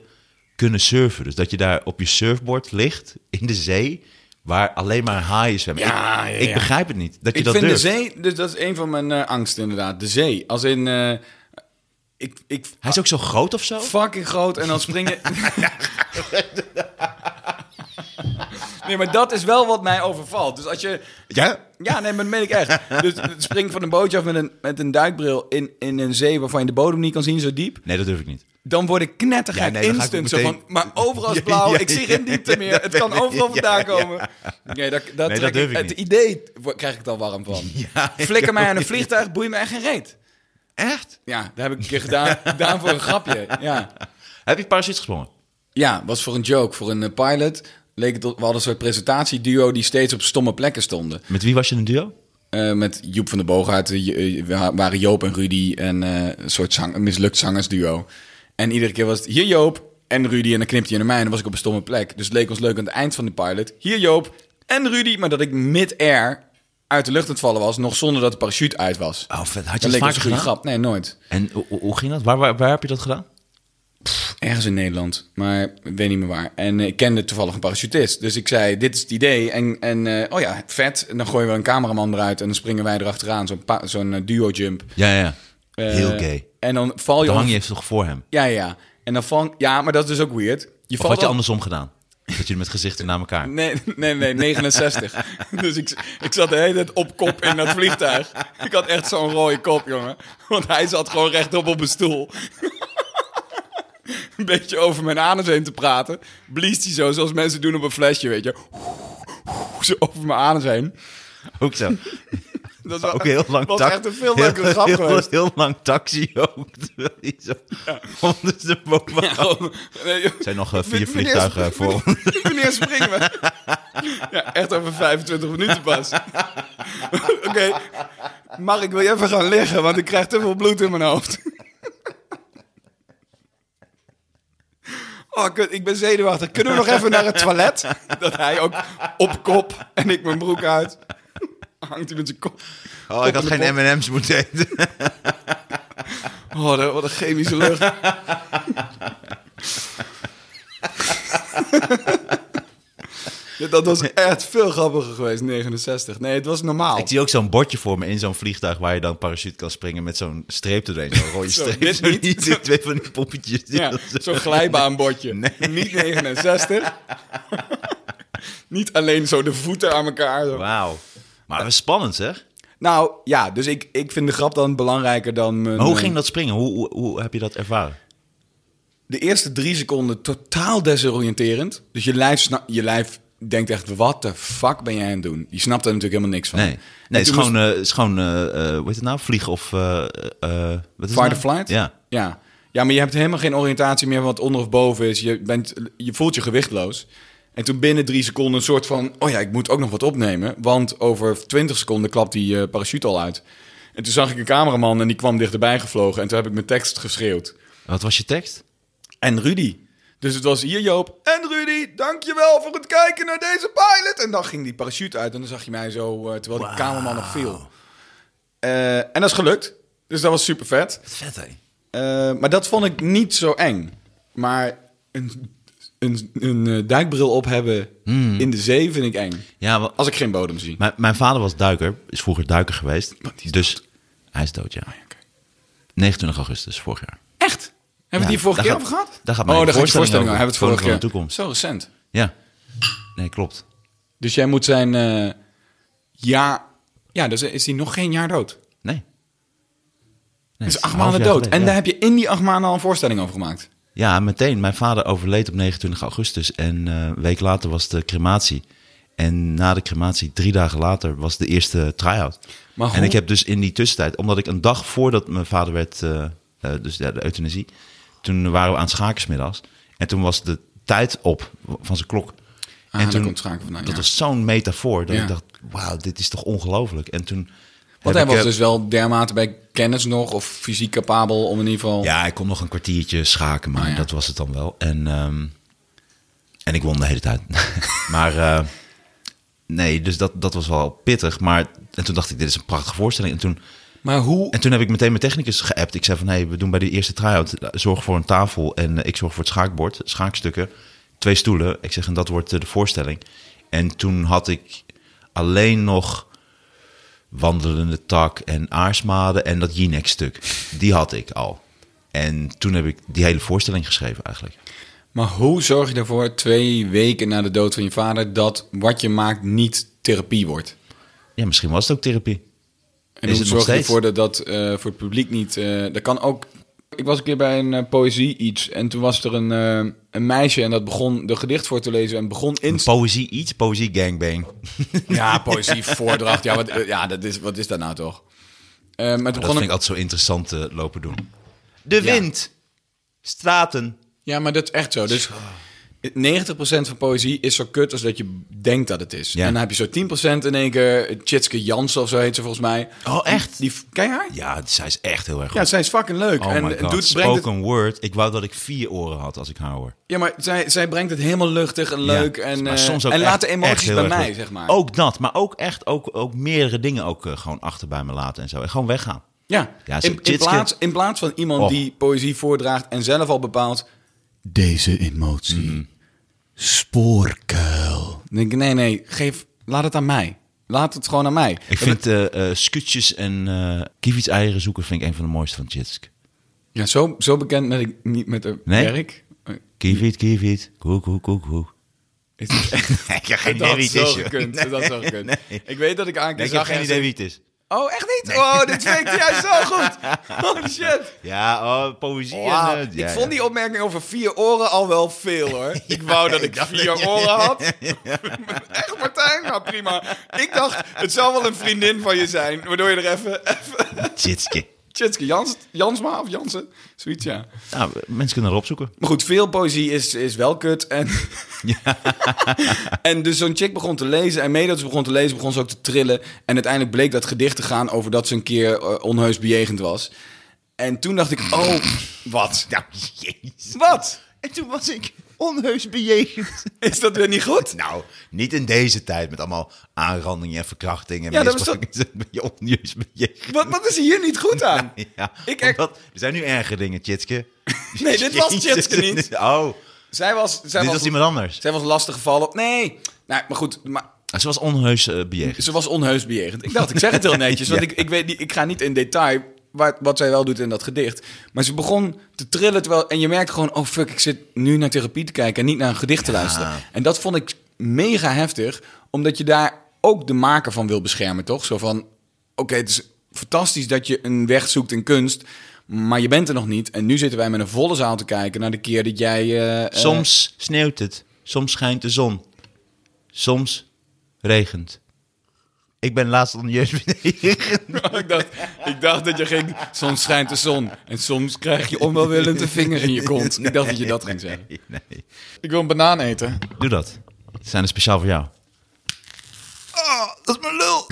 S2: kunnen surfen. Dus dat je daar op je surfboard ligt in de zee... waar alleen maar haaien zwemmen.
S1: Ja,
S2: ik,
S1: ja,
S2: ik
S1: ja.
S2: begrijp het niet, dat je
S1: ik
S2: dat
S1: vind
S2: durft.
S1: de zee, dus dat is een van mijn eh, angsten inderdaad. De zee. Als in, eh, ik, ik,
S2: Hij is ook zo groot of zo?
S1: fucking groot en dan springen. nee, maar dat is wel wat mij overvalt. Dus als je.
S2: Ja?
S1: Ja, nee, maar dat meen ik echt. Dus het springen van een bootje af met een, met een duikbril in, in een zee waarvan je de bodem niet kan zien, zo diep.
S2: Nee, dat durf ik niet.
S1: Dan word ik knettergek
S2: Ja, nee, dan ga ik
S1: instant.
S2: meteen-
S1: Zo van, maar overal is blauw,
S2: Ja, ja,
S1: ik zie
S2: ja,
S1: geen diepte
S2: ja,
S1: meer.
S2: dat
S1: Het kan
S2: weet ik.
S1: overal vandaan
S2: Ja, ja.
S1: komen. Nee, dat, dat,
S2: dat
S1: trek
S2: durf ik
S1: Het
S2: niet.
S1: idee wo- krijg ik dan warm van.
S2: Ja, ik
S1: Flikker mij
S2: ook.
S1: aan een vliegtuig, boei me echt geen reet.
S2: Echt?
S1: Ja, dat heb ik een keer gedaan. Gedaan voor een grapje. Ja.
S2: Heb je parachutes gesprongen?
S1: Ja, was voor een joke, voor een eh, pilot. Leek het, op- we hadden een soort presentatieduo die steeds op stomme plekken stonden.
S2: Met wie was je in een duo?
S1: Eh, met Joep van der Boogaard eh, je- eh, wa- waren Joop en Rudy en eh, een soort zang, een mislukt zangersduo. En iedere keer was het hier Joop en Rudy en dan knipte hij naar mij en dan was ik op een stomme plek. Dus het leek ons leuk aan het eind van de pilot. Hier Joop en Rudy, maar dat ik mid-air uit de lucht aan het vallen was, nog zonder dat de parachute uit was.
S2: Oh, vet. Had je
S1: dat
S2: het
S1: leek ons
S2: vaker
S1: een goede
S2: gedaan?
S1: grap. Nee, nooit.
S2: En hoe, hoe- hoe ging dat? Waar, waar, waar heb je dat gedaan?
S1: Ergens in Nederland, maar ik weet niet meer waar. En eh, ik kende toevallig een parachutist. Dus ik zei, dit is het idee. En, en eh, oh ja, vet. En dan gooien we een cameraman eruit en dan springen wij erachteraan. Zo'n pa- zo'n eh, duo-jump.
S2: Ja, ja.
S1: Eh,
S2: Heel gay.
S1: En dan val je...
S2: Dan hang
S1: om-
S2: je toch voor hem?
S1: Ja, ja. En dan vang... Ja, maar dat is dus ook weird. Je
S2: Of had je
S1: om-
S2: andersom gedaan? Dat je met gezichten naar elkaar...
S1: Nee, nee, nee, 69. dus ik, ik zat de hele tijd op kop in dat vliegtuig. Ik had echt zo'n rode kop, jongen. Want hij zat gewoon rechtop op een stoel. een beetje over mijn anus heen te praten. Blies hij zo, zoals mensen doen op een flesje, weet je. Zo over mijn anus heen.
S2: Ook zo.
S1: Dat is wel-
S2: Ook heel lang
S1: was
S2: taxi.
S1: echt een veel leukere grap
S2: heel,
S1: geweest.
S2: Heel lang taxi ook. Terwijl hij zo ondersteboven
S1: Ja,
S2: hangt.
S1: gewoon- nee, joh.
S2: Er zijn nog eh, vier
S1: Wanneer-
S2: vliegtuigen voor ons.
S1: Wanneer wanneer springen we? Ja, echt over 25 minuten pas. Oké, Mark, wil je even gaan liggen? Want ik krijg te veel bloed in mijn hoofd. Oh, kut, ik ben zenuwachtig. Kunnen we nog even naar het toilet? Dat hij ook op kop en ik mijn broek uit. Hangt hij met zijn kop.
S2: Oh, ik had
S1: in de
S2: geen M&M's moeten eten.
S1: Oh, dat- wat een chemische lucht. Ja, dat was echt veel grappiger geweest, 69. Nee, het was normaal.
S2: Ik zie ook zo'n bordje voor me in zo'n vliegtuig... waar je dan parachute kan springen met zo'n streep erdoorheen. Zo'n rode
S1: Zo,
S2: streep.
S1: dit
S2: Zo
S1: niet.
S2: die Twee van die poppetjes. die
S1: Ja,
S2: dan zo-
S1: zo'n glijbaanbordje. Niet 69. Niet alleen zo de voeten aan elkaar. zo.
S2: Wauw. Maar dat is spannend, zeg.
S1: Nou, ja, dus ik, ik vind de grap dan belangrijker dan mijn...
S2: Maar hoe
S1: eh,
S2: ging dat springen? Hoe, hoe, hoe heb je dat ervaren?
S1: de eerste drie seconden totaal desoriënterend. Dus je lijf, sna- je lijf denkt echt, wat de fuck ben jij aan het doen? Je snapt er natuurlijk helemaal niks van.
S2: Nee, nee
S1: En
S2: het is
S1: toen
S2: gewoon, eh, het is gewoon eh, eh, hoe heet het nou? Vliegen of... eh, eh, wat is het
S1: Fight
S2: nou?
S1: or flight?
S2: Ja.
S1: ja. Ja, maar je hebt helemaal geen oriëntatie meer wat onder of boven is. Je, bent, je voelt je gewichtloos. En toen binnen drie seconden een soort van... oh ja, ik moet ook nog wat opnemen. Want over 20 seconden klapt die eh, parachute al uit. En toen zag ik een cameraman en die kwam dichterbij gevlogen. En toen heb ik mijn tekst geschreeuwd.
S2: Wat was je tekst?
S1: En Rudy. Dus het was hier Joop en Rudy, dankjewel voor het kijken naar deze pilot. En dan ging die parachute uit en dan zag je mij zo, eh, terwijl die cameraman nog viel. Eh, en dat is gelukt. Dus dat was super vet.
S2: Wat vet, hé.
S1: Eh, maar dat vond ik niet zo eng. Maar een een, een eh, duikbril op hebben
S2: Hmm.
S1: in de zee vind ik eng.
S2: Ja, wa- oh,
S1: Als ik geen bodem zie.
S2: mijn, mijn vader was duiker, is vroeger duiker geweest.
S1: die is
S2: dus hij is dood, ja.
S1: Ja, oké.
S2: 29 augustus vorig jaar.
S1: Echt? Hebben we het
S2: Ja,
S1: hier vorige
S2: daar
S1: keer
S2: gaat-
S1: over gehad?
S2: daar gaat
S1: oh,
S2: mijn
S1: daar gaat je
S2: voorstelling
S1: voorstelling
S2: over.
S1: over. Hebben we het
S2: Koning van de
S1: vorige keer.
S2: toekomst.
S1: Zo recent.
S2: Ja. Nee, klopt.
S1: Dus jij moet zijn... eh, ja... Ja, dus is hij nog geen jaar dood.
S2: Nee. nee het
S1: Dus
S2: is
S1: acht
S2: een half
S1: maanden
S2: jaar
S1: dood.
S2: geleden,
S1: en
S2: ja.
S1: daar heb je in die acht maanden al een voorstelling over gemaakt.
S2: Ja, meteen. Mijn vader overleed op 29 augustus. En eh, een week later was de crematie. En na de crematie, drie dagen later, was de eerste try-out.
S1: Maar
S2: En
S1: hoe-
S2: ik heb dus in die tussentijd, omdat ik een dag voordat mijn vader werd, eh, eh, dus ja, de euthanasie, toen waren we aan het schaken 's middags. En toen was de tijd op van zijn klok.
S1: Ah, daar komt schaken vandaan,
S2: Dat
S1: ja.
S2: was zo'n metafoor dat
S1: Ja.
S2: ik dacht, wauw, dit is toch ongelooflijk. En toen. heb
S1: Want hij
S2: ik,
S1: was
S2: eh,
S1: dus wel dermate bij kennis nog... of fysiek capabel om in ieder geval...
S2: Ja, ik kon nog een kwartiertje schaken, maar
S1: Ah, ja.
S2: dat was het dan wel. En, ehm, en ik won de hele tijd. maar eh, nee, dus dat, dat was wel pittig. Maar en toen dacht ik, dit is een prachtige voorstelling. En toen,
S1: Maar hoe...
S2: en toen heb ik meteen mijn technicus geappt. Ik zei van, hé, hey, we doen bij die eerste try-out... eh, zorg voor een tafel en eh, ik zorg voor het schaakbord, schaakstukken. Twee stoelen. Ik zeg, en dat wordt eh, de voorstelling. En toen had ik alleen nog wandelende tak en aarsmaden en dat Jinek-stuk. Die had ik al. En toen heb ik die hele voorstelling geschreven eigenlijk.
S1: Maar hoe zorg je ervoor twee weken na de dood van je vader dat wat je maakt niet therapie wordt?
S2: Ja, misschien was het ook therapie.
S1: En
S2: Is
S1: hoe
S2: het nog
S1: zorg je
S2: steeds?
S1: ervoor dat dat eh, voor het publiek niet. eh, dat kan ook. Ik was een keer bij een eh, poëzie iets en toen was er een, eh, een meisje en dat begon de gedicht voor te lezen en begon in.
S2: Poëzie iets, poëzie gangbang.
S1: Ja, poëzie, voordracht. Ja, wat, eh, ja dat is, wat is dat nou toch? Eh, maar toen
S2: Dat vind
S1: begon
S2: ik
S1: een-
S2: altijd zo interessant eh, lopen doen. De
S1: Ja.
S2: wind. Straten.
S1: ja, maar dat is echt zo. Dus 90% van poëzie is zo kut als dat je denkt dat het is.
S2: Ja.
S1: En dan heb je zo 10% in één keer. Tjitske Jansen of zo heet ze volgens mij.
S2: Oh, echt?
S1: Die, ken je haar?
S2: Ja, zij is echt heel erg goed.
S1: Ja, zij is fucking leuk.
S2: oh
S1: en
S2: my god,
S1: doet, brengt het,
S2: spoken word. Ik wou dat ik vier oren had als ik haar hoor.
S1: ja, maar zij, zij brengt het helemaal luchtig en
S2: Ja,
S1: leuk. en
S2: maar
S1: eh,
S2: soms ook
S1: en
S2: echt-
S1: laat de
S2: echt
S1: emoties
S2: heel
S1: bij
S2: erg Oh.
S1: mij,
S2: goed.
S1: zeg maar.
S2: Ook dat, maar ook echt ook, ook meerdere dingen ook eh, gewoon achter bij me laten en zo. En gewoon weggaan.
S1: ja,
S2: Ja, ze-
S1: in, in,
S2: Jitske-
S1: plaats, in plaats van iemand
S2: Och.
S1: die poëzie voordraagt en zelf al bepaalt... Deze emotie.
S2: Mhm.
S1: Spoorkuil. Dan denk ik, nee, nee, geef, laat het aan mij. Laat het gewoon aan mij.
S2: Ik vind eh eh scootjes en eh eieren zoeken vind ik een van de mooiste van Jitsk.
S1: Ja, zo, zo bekend ben ik niet met haar
S2: Nee?
S1: werk. Eh,
S2: Kievit, kievit, koek, koek, koek, koek.
S1: Is het echt...
S2: Ik heb geen
S1: Dat
S2: idee
S1: had
S2: wie het
S1: zo
S2: is, joh.
S1: gekund.
S2: Nee,
S1: Dat had zo gekund.
S2: nee.
S1: Ik weet dat ik aan
S2: Nee,
S1: keer
S2: ik heb
S1: zag
S2: geen
S1: en
S2: idee
S1: ze-
S2: wie het is.
S1: Oh, echt niet? Oh, dit werkt juist zo goed. Holy shit.
S2: Ja, oh, poëzie
S1: Wauw,
S2: en... eh, ja,
S1: nou, ik vond
S2: ja.
S1: die opmerking over vier oren al wel veel hoor. Ik wou dat ik vier oren had. Echt Martijn? Nou prima. Ik dacht, het zou wel een vriendin van je zijn. Waardoor je er even... even
S2: Jitske.
S1: Tjitske Jans, Jansma of Jansen? Zoiets, ja.
S2: Nou, mensen kunnen erop zoeken.
S1: Maar goed, veel poëzie is, is wel kut. En, en dus zo'n chick begon te lezen. En mede dat ze begon te lezen, begon ze ook te trillen. En uiteindelijk bleek dat gedicht te gaan over dat ze een keer eh, onheus bejegend was. En toen dacht ik, oh, wat?
S2: Nou, jezus.
S1: Wat?
S2: En toen was ik onheus bejegend.
S1: Is dat weer niet goed?
S2: Nou, niet in deze tijd met allemaal aanrandingen en verkrachtingen.
S1: Ja,
S2: En
S1: dat was
S2: misbruik. Ben je onheus bejegend.
S1: Wat, wat is hier niet goed aan?
S2: Ja,
S1: Ik echt-
S2: omdat- er zijn nu erger dingen, Tjitske.
S1: Nee, dit was
S2: Jezus.
S1: Tjitske niet.
S2: Oh,
S1: Zij was, zij
S2: dit
S1: was,
S2: was iemand anders.
S1: zij was lastig gevallen. Nee, nou, maar goed, maar
S2: Ze was onheus eh, bejegend.
S1: ze was onheus bejegend. Ik dacht, ik zeg het heel netjes, want
S2: Ja.
S1: ik, ik, weet niet, ik ga niet in detail wat, wat zij wel doet in dat gedicht. Maar ze begon te trillen terwijl, en je merkt gewoon, oh fuck, ik zit nu naar therapie te kijken en niet naar een gedicht te luisteren. En dat vond ik mega heftig, omdat je daar ook de maker van wil beschermen, toch? Zo van, oké, het is fantastisch dat je een weg zoekt in kunst. Maar je bent er nog niet. En nu zitten wij met een volle zaal te kijken naar de keer dat jij. eh, eh,
S2: Soms sneeuwt het, soms schijnt de zon, soms regent. Ik ben laatst onheus bejegend.
S1: ik, dacht, ik dacht dat je ging. Soms schijnt de zon. En soms krijg je onwelwillend een vinger in je kont. Ik dacht dat je dat ging zeggen.
S2: Nee, nee.
S1: Ik wil een banaan eten.
S2: Doe dat. Ze zijn er speciaal voor jou.
S3: Oh, dat is mijn lul.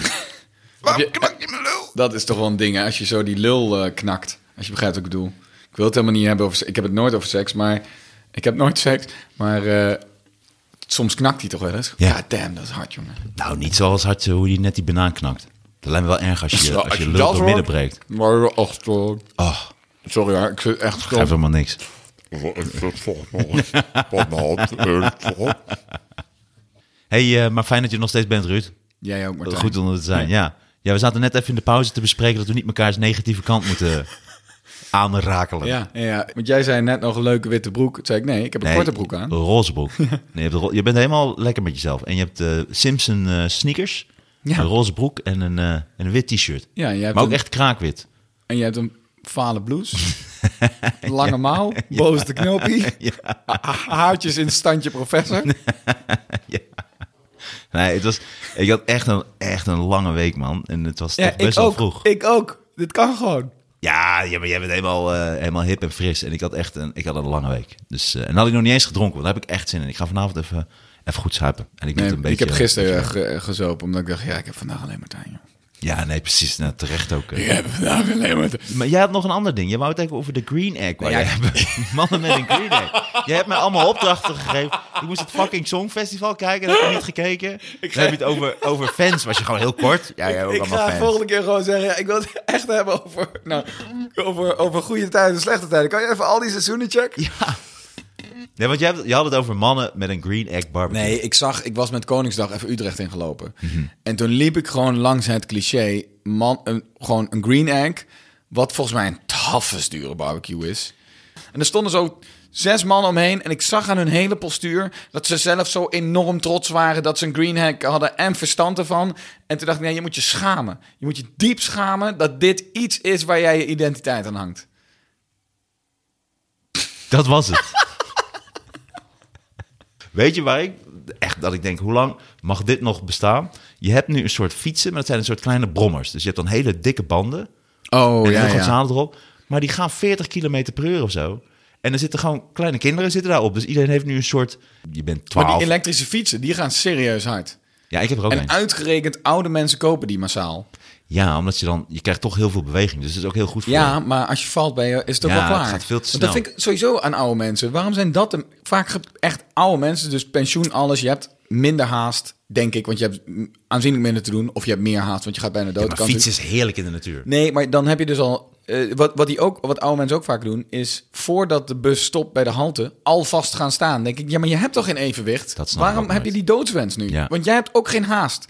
S3: Waarom
S1: Heb je-
S3: knak je mijn lul?
S1: Dat is toch wel een ding, hè? Als je zo die lul eh, knakt. Als je begrijpt wat ik bedoel. Ik wil het helemaal niet hebben over seks. Ik heb het nooit over seks, maar... Ik heb nooit seks, maar... eh, soms knakt hij toch wel eens?
S2: Ja.
S1: God damn, dat is hard, jongen.
S2: Nou, niet zoals hard eh, hoe die net die banaan knakt. Dat lijkt me wel erg als je, als je lul
S1: dat
S2: door midden
S1: hoort-
S2: breekt.
S1: Maar, ach, toch.
S2: Oh,
S1: sorry hoor, ik zit echt...
S2: geeft helemaal niks.
S4: Is dat toch nog eens van de hand? Eh, toch?
S2: hey, eh, maar fijn dat je er nog steeds bent, Ruud.
S1: Jij ook, Martijn.
S2: Goed onder te zijn, ja. Ja, we zaten net even in de pauze te bespreken dat we niet mekaars negatieve kant moeten aanrakelen.
S1: Ja, ja, want jij zei net nog een leuke witte broek. Toen zei ik, nee, ik heb een
S2: Nee,
S1: korte broek aan.
S2: Een roze broek. Nee, je, hebt een ro- je bent helemaal lekker met jezelf. En je hebt eh, Simpson eh, sneakers,
S1: Ja.
S2: een roze broek en een, eh, en een wit t-shirt.
S1: Ja, en jij hebt
S2: maar ook
S1: een-
S2: echt kraakwit.
S1: En je hebt een fale blouse. Lange mouw, boos de knoppie. ha- ha- Haartjes in standje professor.
S2: Nee, het was, ik had echt een, echt een lange week, man. En het was
S1: Ja,
S2: toch best
S1: ik
S2: wel
S1: ook.
S2: vroeg.
S1: Ik ook. Dit kan gewoon.
S2: Ja, ja, maar jij bent helemaal, eh, helemaal hip en fris. En ik had echt een, ik had een lange week. Dus, eh, en dan had ik nog niet eens gedronken, want daar heb ik echt zin in. Ik ga vanavond even, even goed zuipen. En ik, doe
S1: Nee,
S2: het een beetje,
S1: ik heb gisteren eh, ge- gezopen, omdat ik dacht, ja, ik heb vandaag alleen Martijn. Joh.
S2: Ja, nee, precies. Nou, terecht ook. eh.
S1: Ik heb vandaag alleen Martijn.
S2: Maar jij had nog een ander ding. Je wou het even over de green egg. Waar
S1: Ja,
S2: jij Mannen met een green egg. Jij hebt mij allemaal opdrachten gegeven. Ik moest het fucking Songfestival kijken. Dat heb ik niet gekeken. Dan heb je het over, over fans. Was je gewoon heel kort. Ja, jij hebt ook
S1: Ik
S2: allemaal
S1: ga de
S2: fans.
S1: volgende keer gewoon zeggen, ja, ik wil het echt hebben over, nou, over, over goede tijden en slechte tijden. Kan je even al die seizoenen checken?
S2: Nee, want jij, hebt- je had het over mannen met een green egg barbecue.
S1: Nee, ik zag, ik was met Koningsdag even Utrecht ingelopen. En toen liep ik gewoon langs het cliché, man, een, gewoon een green egg, wat volgens mij een taffe dure barbecue is. En er stonden zo zes mannen omheen en ik zag aan hun hele postuur dat ze zelf zo enorm trots waren dat ze een green egg hadden en verstand ervan. En toen dacht ik, nee, je moet je schamen. Je moet je diep schamen dat dit iets is waar jij je identiteit aan hangt.
S2: Dat was het. Weet je waar ik echt dat ik denk, hoe lang mag dit nog bestaan? Je hebt nu een soort fietsen, maar dat zijn een soort kleine brommers. Dus je hebt dan hele dikke banden.
S1: Oh,
S2: en heel veel zadel erop. Maar die gaan 40 km per uur of zo. En er zitten gewoon kleine kinderen zitten daarop. Dus iedereen heeft nu een soort. Je bent
S1: Maar
S2: 12.
S1: die elektrische fietsen, die gaan serieus hard.
S2: Ja, ik heb er ook
S1: En
S2: een.
S1: uitgerekend oude mensen kopen die massaal.
S2: Ja, omdat je dan. Je krijgt toch heel veel beweging. Dus het is ook heel goed voor
S1: Ja,
S2: je.
S1: maar als je valt bij je, is het ook
S2: Ja,
S1: wel klaar.
S2: het gaat veel te
S1: Want dat
S2: snel.
S1: vind ik sowieso aan oude mensen. Waarom zijn dat een- vaak ge- echt oude mensen? Dus pensioen, alles. Je hebt minder haast, denk ik. Want je hebt mm, aanzienlijk minder te doen. Of je hebt meer haast, want je gaat bijna dood.
S2: Maar
S1: Kan
S2: fietsen is heerlijk in de natuur.
S1: Nee, maar dan heb je dus al... eh, wat, wat, die ook, wat oude mensen ook vaak doen, is voordat de bus stopt bij de halte, alvast gaan staan. denk ik, ja, maar je hebt toch geen evenwicht?
S2: Dat snap ik
S1: Waarom
S2: ook
S1: heb je
S2: nooit.
S1: die doodswens nu?
S2: Ja.
S1: Want jij hebt ook geen haast.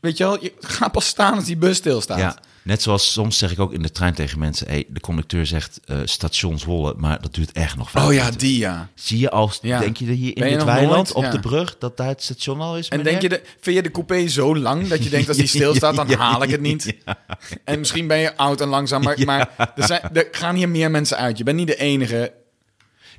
S1: Weet je wel, je gaat pas staan als die bus stilstaat.
S2: Ja, net zoals soms zeg ik ook in de trein tegen mensen: hey, de conducteur zegt eh station Zwolle, maar dat duurt echt nog vijf
S1: Oh ja,
S2: minuten.
S1: die ja.
S2: Zie je als,
S1: Ja.
S2: denk je dat hier in
S1: Ben je
S2: dit
S1: nog
S2: weiland
S1: nooit?
S2: op
S1: Ja.
S2: de brug, dat daar het station al is?
S1: En
S2: meneer?
S1: denk je de, vind je de coupé zo lang dat je denkt als die stilstaat, dan haal ik het niet? En misschien ben je oud en langzaam, maar, maar er, zijn, er gaan hier meer mensen uit. Je bent niet de enige.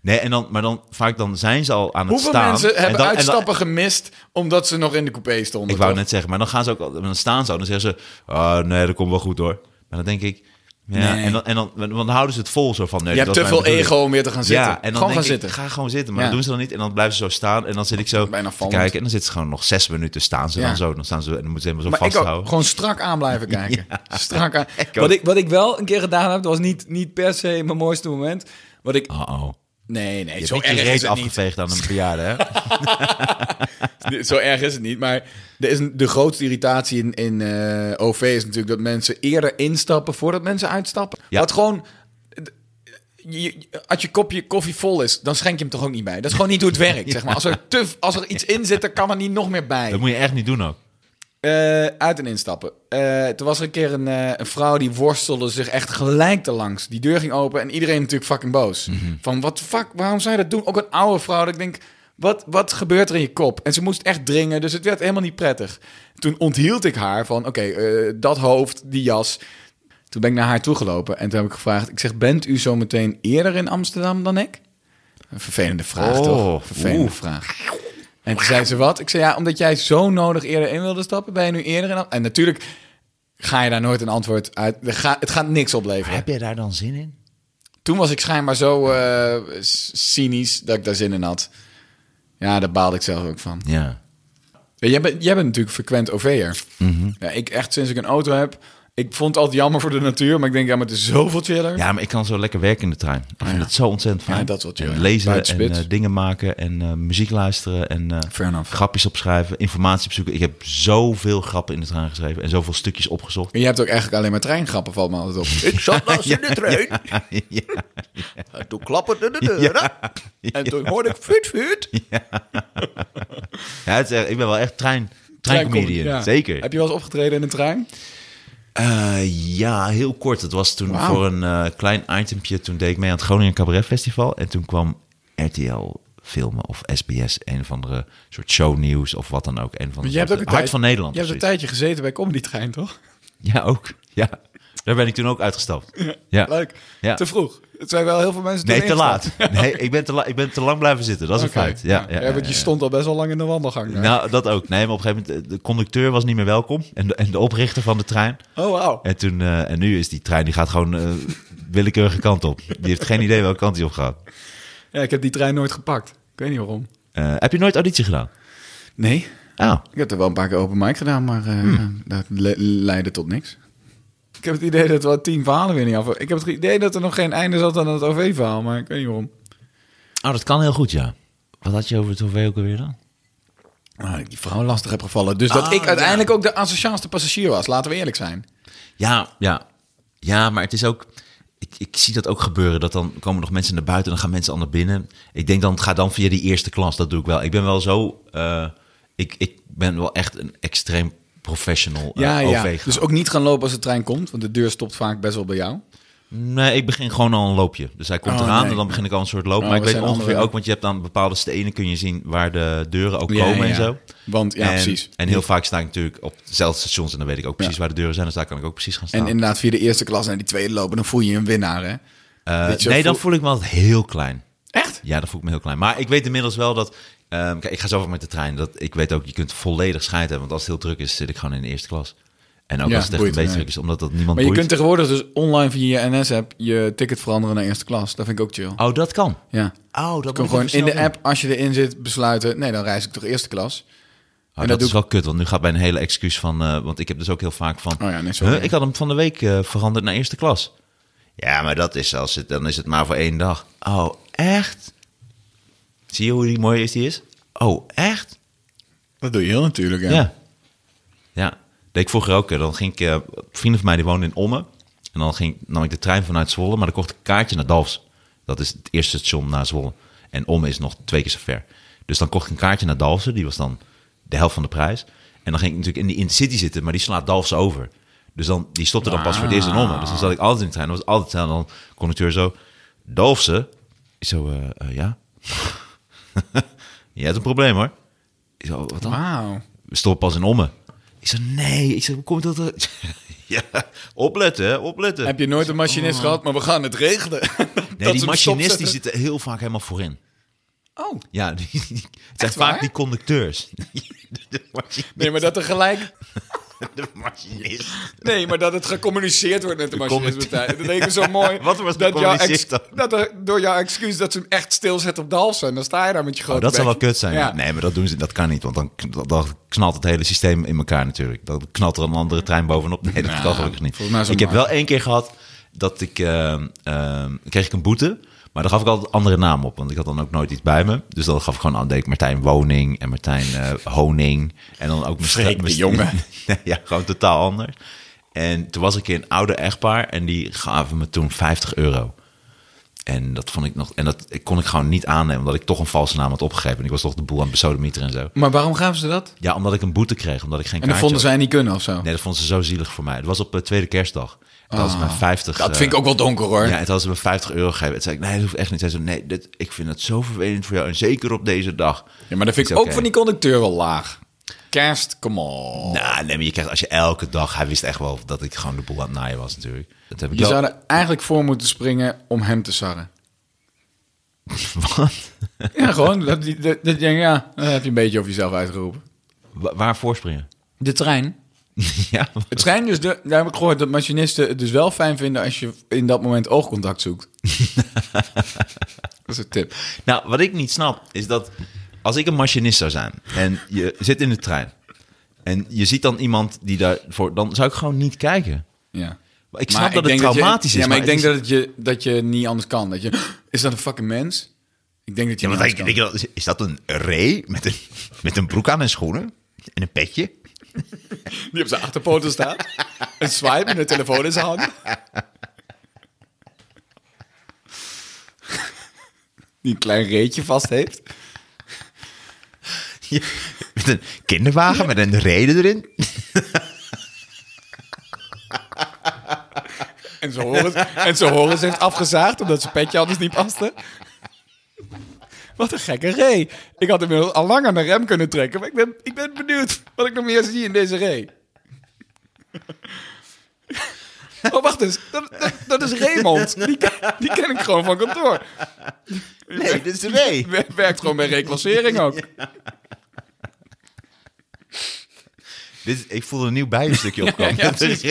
S2: Nee, en dan, maar dan vaak dan zijn ze al aan het
S1: Hoeveel
S2: staan.
S1: mensen
S2: en
S1: hebben
S2: dan, en dan-
S1: uitstappen gemist omdat ze nog in de coupé stonden?
S2: Ik wou
S1: toch?
S2: net zeggen, maar dan gaan ze ook al- dan staan ze, al, dan zeggen ze, ah, nee, dat komt wel goed hoor. Maar dan denk ik, ja,
S1: Nee.
S2: en, dan, en dan, want dan houden ze het vol zo van. Nee,
S1: je hebt
S2: dat
S1: te
S2: is
S1: veel
S2: mijn bedoeling.
S1: ego om weer te gaan zitten.
S2: Ja, en dan
S1: Gewoon
S2: denk
S1: gaan
S2: ik,
S1: zitten.
S2: ga gewoon zitten. Maar
S1: Ja.
S2: dat doen ze dan niet. En dan blijven ze zo staan. En dan zit ik zo
S1: Bijna
S2: te
S1: vallend.
S2: kijken. En dan zitten ze gewoon nog zes minuten staan ze
S1: Ja.
S2: dan zo. Dan staan ze en dan moeten ze helemaal zo
S1: Maar ik
S2: vasthouden.
S1: ook gewoon strak aan blijven kijken. Strak aan.
S2: Ik ook.
S1: wat, ik, wat ik wel een keer gedaan heb, dat was niet, niet per se mijn mooiste moment. Wat ik...
S2: Uh-oh.
S1: Nee, nee,
S2: Je
S1: zo
S2: hebt niet
S1: erg
S2: je
S1: is
S2: reet
S1: het niet.
S2: afgeveegd aan een bejaarde, hè?
S1: Nee, Zo erg is het niet. Maar er is een- de grootste irritatie in, in eh, OV is natuurlijk dat mensen eerder instappen voordat mensen uitstappen.
S2: Ja.
S1: Wat gewoon. d- je- je- als je kopje koffie vol is, dan schenk je hem toch ook niet bij. Dat is gewoon niet hoe het werkt. Zeg maar. als, er te, als er iets in zit, dan kan er niet nog meer bij.
S2: Dat moet je echt niet doen ook.
S1: Eh, uit en instappen. Eh, toen was er een keer een, eh, een vrouw die worstelde zich echt gelijk erlangs. Die deur ging open en iedereen natuurlijk fucking boos.
S2: Mhm.
S1: Van wat fuck, waarom zou je dat doen? Ook een oude vrouw. Dat ik denk, wat, wat gebeurt er in je kop? En ze moest echt dringen, dus het werd helemaal niet prettig. Toen onthield ik haar van, oké, eh, dat hoofd, die jas. Toen ben ik naar haar toegelopen en toen heb ik gevraagd... Ik zeg, bent u zo meteen eerder in Amsterdam dan ik? Een vervelende vraag,
S2: Oh,
S1: toch? Vervelende
S2: oeh.
S1: vraag. En toen zei ze wat? Ik zei ja, omdat jij zo nodig eerder in wilde stappen, ben je nu eerder in. Am- En natuurlijk ga je daar nooit een antwoord uit. Er ga- Het gaat niks
S2: Maar
S1: opleveren.
S2: heb jij daar dan zin in?
S1: Toen was ik schijnbaar zo eh, s- cynisch dat ik daar zin in had. Ja, daar baalde ik zelf ook van.
S2: Ja. Mhm.
S1: Ja, jij, bent, jij bent natuurlijk frequent OV'er. Ja, ik echt sinds ik een auto heb Ik vond het altijd jammer voor de natuur, maar ik denk, ja, maar het is zoveel chiller.
S2: Ja, maar ik kan zo lekker werken in de trein. Ik vind het zo ontzettend fijn.
S1: Oh Ja, dat is wel chill,
S2: En
S1: ja.
S2: Lezen
S1: Buiten
S2: en
S1: spits.
S2: eh, dingen maken en eh, muziek luisteren en eh,
S1: Fair enough.
S2: grapjes opschrijven, informatie opzoeken. Ik heb zoveel grappen in de trein geschreven en zoveel stukjes opgezocht.
S1: En je hebt ook eigenlijk alleen maar treingrappen, valt me altijd op. Ik zat naast in de trein
S2: ja.
S1: en toen klapperde de deuren. En toen hoorde ik fut fut.
S2: Ja, het is echt- ik ben wel echt trein, treincomedian.
S1: Ja.
S2: Zeker.
S1: Heb je wel eens opgetreden in een trein?
S2: Eh, ja, heel kort. Het was toen
S1: Wauw.
S2: voor een eh, klein itempje. Toen deed ik mee aan het Groningen Cabaret Festival. En toen kwam RTL filmen of SBS. Een of andere soort shownieuws of wat dan ook. Een van de
S1: Je hebt ook een
S2: Hart
S1: tijd-
S2: van Nederland.
S1: Je hebt
S2: of
S1: een
S2: zoiets.
S1: tijdje gezeten bij Comedy Trein, toch?
S2: Ja, ook. Ja. Daar ben ik toen ook uitgestapt. Ja.
S1: Leuk.
S2: Ja.
S1: Te vroeg. Het zijn wel heel veel mensen
S2: Nee,
S1: toen
S2: te
S1: ingestapt.
S2: laat. Nee, ik ben te, la- ik ben te lang blijven zitten. Dat is
S1: Oké.
S2: een feit. Ja, ja,
S1: want je
S2: ja, ja.
S1: stond al best wel lang in de wandelgang. daar.
S2: Nou, dat ook. Nee, maar op een gegeven moment... eh, De conducteur was niet meer welkom. En de, en de oprichter van de trein.
S1: Oh, wauw.
S2: En, toen, eh, en nu is die trein, die gaat gewoon eh, willekeurige kant op. Die heeft geen idee welke kant hij op gaat.
S1: Ja, ik heb die trein nooit gepakt. Ik weet niet waarom.
S2: Eh, heb je nooit auditie gedaan?
S1: Nee.
S2: Ah,
S1: Ik heb er wel een paar keer open mic gedaan, maar eh, dat le- leidde tot niks. Ik heb het idee dat we tien verhalen weer niet af. Ik heb het idee dat er nog geen einde zat aan het OV-verhaal, maar ik weet niet waarom.
S2: oh, dat kan heel goed, ja. Wat had je over het OV ook alweer dan?
S1: Nou, dat ik die vrouw lastig heb gevallen. Dus dat
S2: Ah,
S1: ik uiteindelijk ook de asociaalste passagier was. Laten we eerlijk zijn.
S2: Ja, ja. Ja, maar het is ook... Ik, ik zie dat ook gebeuren, dat dan komen nog mensen naar buiten... en dan gaan mensen al naar binnen. Ik denk dan, ga dan via die eerste klas, dat doe ik wel. Ik ben wel zo... eh, ik, ik ben wel echt een extreem professional eh,
S1: Ja,
S2: OV
S1: ja.
S2: -gaan.
S1: Dus ook niet gaan lopen als de trein komt, want de deur stopt vaak best wel bij jou.
S2: Nee, ik begin gewoon al een loopje. Dus hij komt
S1: Oh,
S2: eraan
S1: nee.
S2: en dan begin ik al een soort loop.
S1: Oh,
S2: maar ik
S1: we
S2: weet
S1: zijn
S2: ongeveer
S1: andere-
S2: ook, want je hebt aan bepaalde stenen kun je zien waar de deuren ook
S1: Ja,
S2: komen
S1: ja.
S2: en zo.
S1: Want- ja,
S2: en,
S1: precies.
S2: En heel vaak sta ik natuurlijk op dezelfde stations en dan weet ik ook precies waar de deuren zijn. Dus daar kan ik ook precies gaan
S1: En
S2: staan.
S1: inderdaad via de eerste klas naar die tweede lopen, dan voel je je een winnaar, hè?
S2: Eh,
S1: dat je
S2: nee,
S1: voel-
S2: dan voel ik me altijd heel klein.
S1: Echt?
S2: Ja, dan voel ik me heel klein. Maar ik weet inmiddels wel dat... ehm, kijk, ik ga zoveel met de trein. Dat, ik weet ook, je kunt volledig scheiden. hebben, Want als het heel druk is, zit ik gewoon in de eerste klas. En ook
S1: Ja,
S2: als het echt
S1: boeit,
S2: een beetje
S1: nee.
S2: druk is, omdat dat niemand
S1: Maar je
S2: boeit.
S1: kunt tegenwoordig dus online via je NS-app je ticket veranderen naar eerste klas. Dat vind ik ook chill.
S2: Oh, dat kan.
S1: Ja.
S2: Oh,
S1: Je
S2: dat
S1: kan gewoon
S2: moet ik even
S1: in
S2: snel
S1: de
S2: doen.
S1: app, als je erin zit, besluiten... Nee, dan reis ik toch eerste klas.
S2: Oh,
S1: En
S2: dat,
S1: dat
S2: is
S1: doe
S2: wel kut, want nu gaat mijn hele excuus van... eh, want ik heb dus ook heel vaak van...
S1: Oh ja, nee, sorry.
S2: "Huh, ik had hem van de week eh, veranderd naar eerste klas. Ja, maar dat is als het, dan is het maar voor één dag. Oh, echt? Zie je hoe die mooi is die is? Oh, echt?
S1: Dat doe je heel natuurlijk,
S2: Ja. Ja, deed ik vroeger ook. eh, Dan ging ik... eh, vrienden van mij die woonden in Ommen. En dan ging, nam ik de trein vanuit Zwolle, maar dan kocht ik een kaartje naar Dalfs. Dat is het eerste station na Zwolle. En Ommen is nog twee keer zo ver. Dus dan kocht ik een kaartje naar Dalfsen. Die was dan de helft van de prijs. En dan ging ik natuurlijk in de intercity zitten, maar die slaat Dalfsen over. Dus dan, die stopte dan pas voor het eerst in Ommen. Dus dan zat ik altijd in de trein. Dan was het altijd en dan conducteur zo... Dalfsen? Ik zo, eh, eh, ja? Je hebt een probleem, hoor. Ik zo, wat dan?
S1: Wauw.
S2: we stoppen pas in Ommen. Ik zei, nee. Ik zei, hoe komt dat? er- ja, opletten, hè, opletten.
S1: Heb je nooit een machinist gehad, maar we gaan het regelen.
S2: Oh. nee, die machinisten die zitten heel vaak helemaal voorin.
S1: Oh,
S2: Ja, die, die- het zijn
S1: waar?
S2: vaak die conducteurs. de, de machinist.
S1: nee, maar dat er gelijk...
S2: De machinist.
S1: Nee, maar dat het gecommuniceerd wordt met de machinistpartij. Dat leek me zo mooi.
S2: Wat was
S1: dat jouw
S2: gecommuniceerd
S1: ex- dat er, door jouw excuus dat ze hem echt stilzet op Dalsen. Dan sta je daar met je grote
S2: Oh, dat zou wel
S1: bek.
S2: kut zijn.
S1: Ja.
S2: Nee, maar dat doen ze, dat kan niet. Want dan, kn- dan knalt het hele systeem in elkaar natuurlijk. Dan knalt er een andere trein bovenop. Nee, dat kan gelukkig niet.
S1: volgens mij is
S2: ik
S1: het maar.
S2: heb wel één keer gehad dat ik... ehm, ehm, kreeg ik een boete, maar daar gaf ik altijd een andere naam op. Want ik had dan ook nooit iets bij me. Dus dan gaf ik gewoon aan, deed ik Martijn Woning en Martijn eh, Honing. En dan ook mijn stra-
S1: Freek de
S2: mijn-
S1: Jonge.
S2: Nee, ja, gewoon totaal anders. En toen was ik een oude echtpaar en die gaven me toen 50 euro. En dat vond ik nog. En dat kon ik gewoon niet aannemen, omdat ik toch een valse naam had opgegeven. En ik was toch de boel aan het besodemieteren en zo.
S1: Maar waarom gaven ze dat?
S2: Ja, omdat ik een boete kreeg, omdat ik geen
S1: En dat
S2: kaartje
S1: vonden
S2: had.
S1: zij niet kunnen of zo?
S2: Nee, dat vonden ze zo zielig voor mij. Het was op de tweede kerstdag. En dat was mijn 50.
S1: Ah. dat vind ik ook wel donker, hoor.
S2: eh, Ja, het hadden ze me 50 euro gegeven. Het zei ik, nee, dat hoeft echt niet. Zij zei, nee, dit, ik vind het zo vervelend voor jou. En zeker op deze dag.
S1: Ja, maar dat vind ik
S2: Is oké.
S1: ook van die conducteur wel laag. Kerst, come on.
S2: Nou, nee, maar je krijgt als je elke dag... Hij wist echt wel dat ik gewoon de boel aan het naaien was natuurlijk. Dat heb ik
S1: Je
S2: wel.
S1: zou er eigenlijk voor moeten springen om hem te sarren.
S2: Wat?
S1: Ja, gewoon. Dat, dat, dat, je denkt, ja, dan heb je een beetje over jezelf uitgeroepen.
S2: Wa- Waar voorspringen?
S1: De trein.
S2: ja,
S1: Het trein dus, de, daar heb ik gehoord dat machinisten het dus wel fijn vinden als je in dat moment oogcontact zoekt. dat is een tip.
S2: Nou, wat ik niet snap is dat als ik een machinist zou zijn en je zit in de trein en je ziet dan iemand die daarvoor, dan zou ik gewoon niet kijken.
S1: Ja.
S5: Maar ik snap dat het
S1: denk
S5: traumatisch
S1: je,
S5: is,
S1: Ja, maar,
S5: maar
S1: ik denk
S5: het
S1: dat, het je, dat je niet anders kan. Dat je, is dat een fucking mens? Ik denk dat je
S2: Ja,
S1: niet
S2: want ik
S1: anders
S2: denk
S1: kan.
S2: dat, is dat een ree met een, met een broek aan en schoenen? En een petje?
S1: Die op zijn achterpoten staat. een swipe en een telefoon in zijn hand. die een klein reetje vast heeft.
S2: Ja, met een kinderwagen met een reden erin?
S1: En zijn horens, en zijn horens heeft afgezaagd omdat zijn petje anders niet paste. Wat een gekke ree. Ik had inmiddels al lang aan de rem kunnen trekken, maar ik ben, ik ben benieuwd wat ik nog meer zie in deze ree. Oh, wacht eens. Dat, dat, dat is Raymond. Die, ken- die ken ik gewoon van kantoor.
S2: Nee, dit is een ree.
S1: Wer- Werkt gewoon bij reclassering ook.
S2: Dit is- ik voelde een nieuw bijstukje opkomen.
S1: Ja, ja,
S2: Dat is re-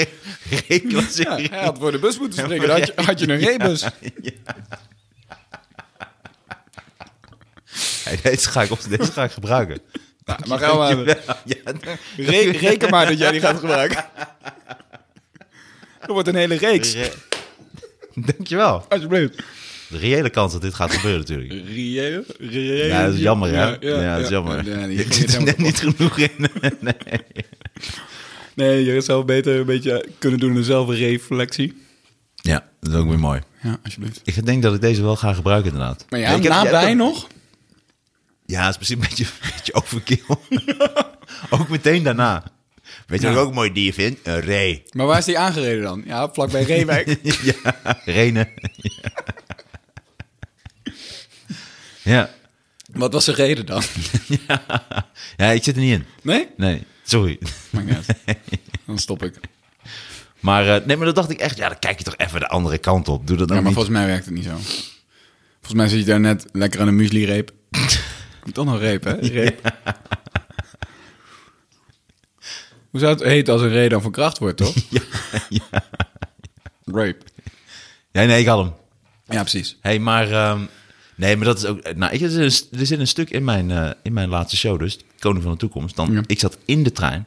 S1: Ja,
S2: reclassering.
S1: hij had voor de bus moeten springen. Dan had je, had je een reebus.
S2: Hey, deze, ga ik op, deze ga ik gebruiken.
S1: Nou, maar gaan we hebben.
S2: Ja,
S1: Re- reken maar dat jij die gaat gebruiken. Er wordt een hele reeks.
S2: re- Dankjewel.
S1: Alsjeblieft.
S2: De reële kans dat dit gaat gebeuren natuurlijk.
S1: Reëel? Reëel?
S2: Ja, dat is jammer, hè? Ja, dat is jammer.
S1: Nee, nee,
S2: je
S1: je
S2: zit er net
S1: niet.
S2: niet genoeg in.
S1: Nee, je zou beter een beetje kunnen doen een zelfreflectie.
S2: Ja, dat is ook weer mooi.
S1: Ja, alsjeblieft.
S2: Ik denk dat ik deze wel ga gebruiken inderdaad.
S1: Maar ja,
S2: ik heb-
S1: nabij
S2: jij hebt-
S1: nog?
S2: Ja, het is misschien een beetje, een beetje overkill. ook meteen daarna. Weet je
S1: Ja.
S2: wat ik ook een mooi dier vind? Een ree.
S1: Maar waar is die aangereden dan? Ja, vlakbij Reewijk.
S2: Renen. ja.
S1: Wat was de reden dan?
S2: ja, ik zit er niet in.
S1: Nee?
S2: Nee, sorry.
S1: Maakt niet uit. Dan stop ik.
S2: Maar, eh, nee, maar dat dacht ik echt, ja, dan kijk je toch even de andere kant op. Doe dat dan
S1: Ja, maar
S2: niet.
S1: volgens mij werkt het niet zo. Volgens mij zit je daar net lekker aan een muesli-reep. Komt dan een reep, hè? Reep. Hoe zou het heten als een ree dan van kracht wordt, toch?
S2: Ja,
S1: Rape.
S2: Ja, nee, ik had hem.
S1: Ja, precies.
S2: hey, maar... ehm, nee, maar dat is ook... Nou, ik, er, zit een, er zit een stuk in mijn, eh, in mijn laatste show dus. Koning van de Toekomst. Dan,
S1: Ja.
S2: Ik zat in de trein.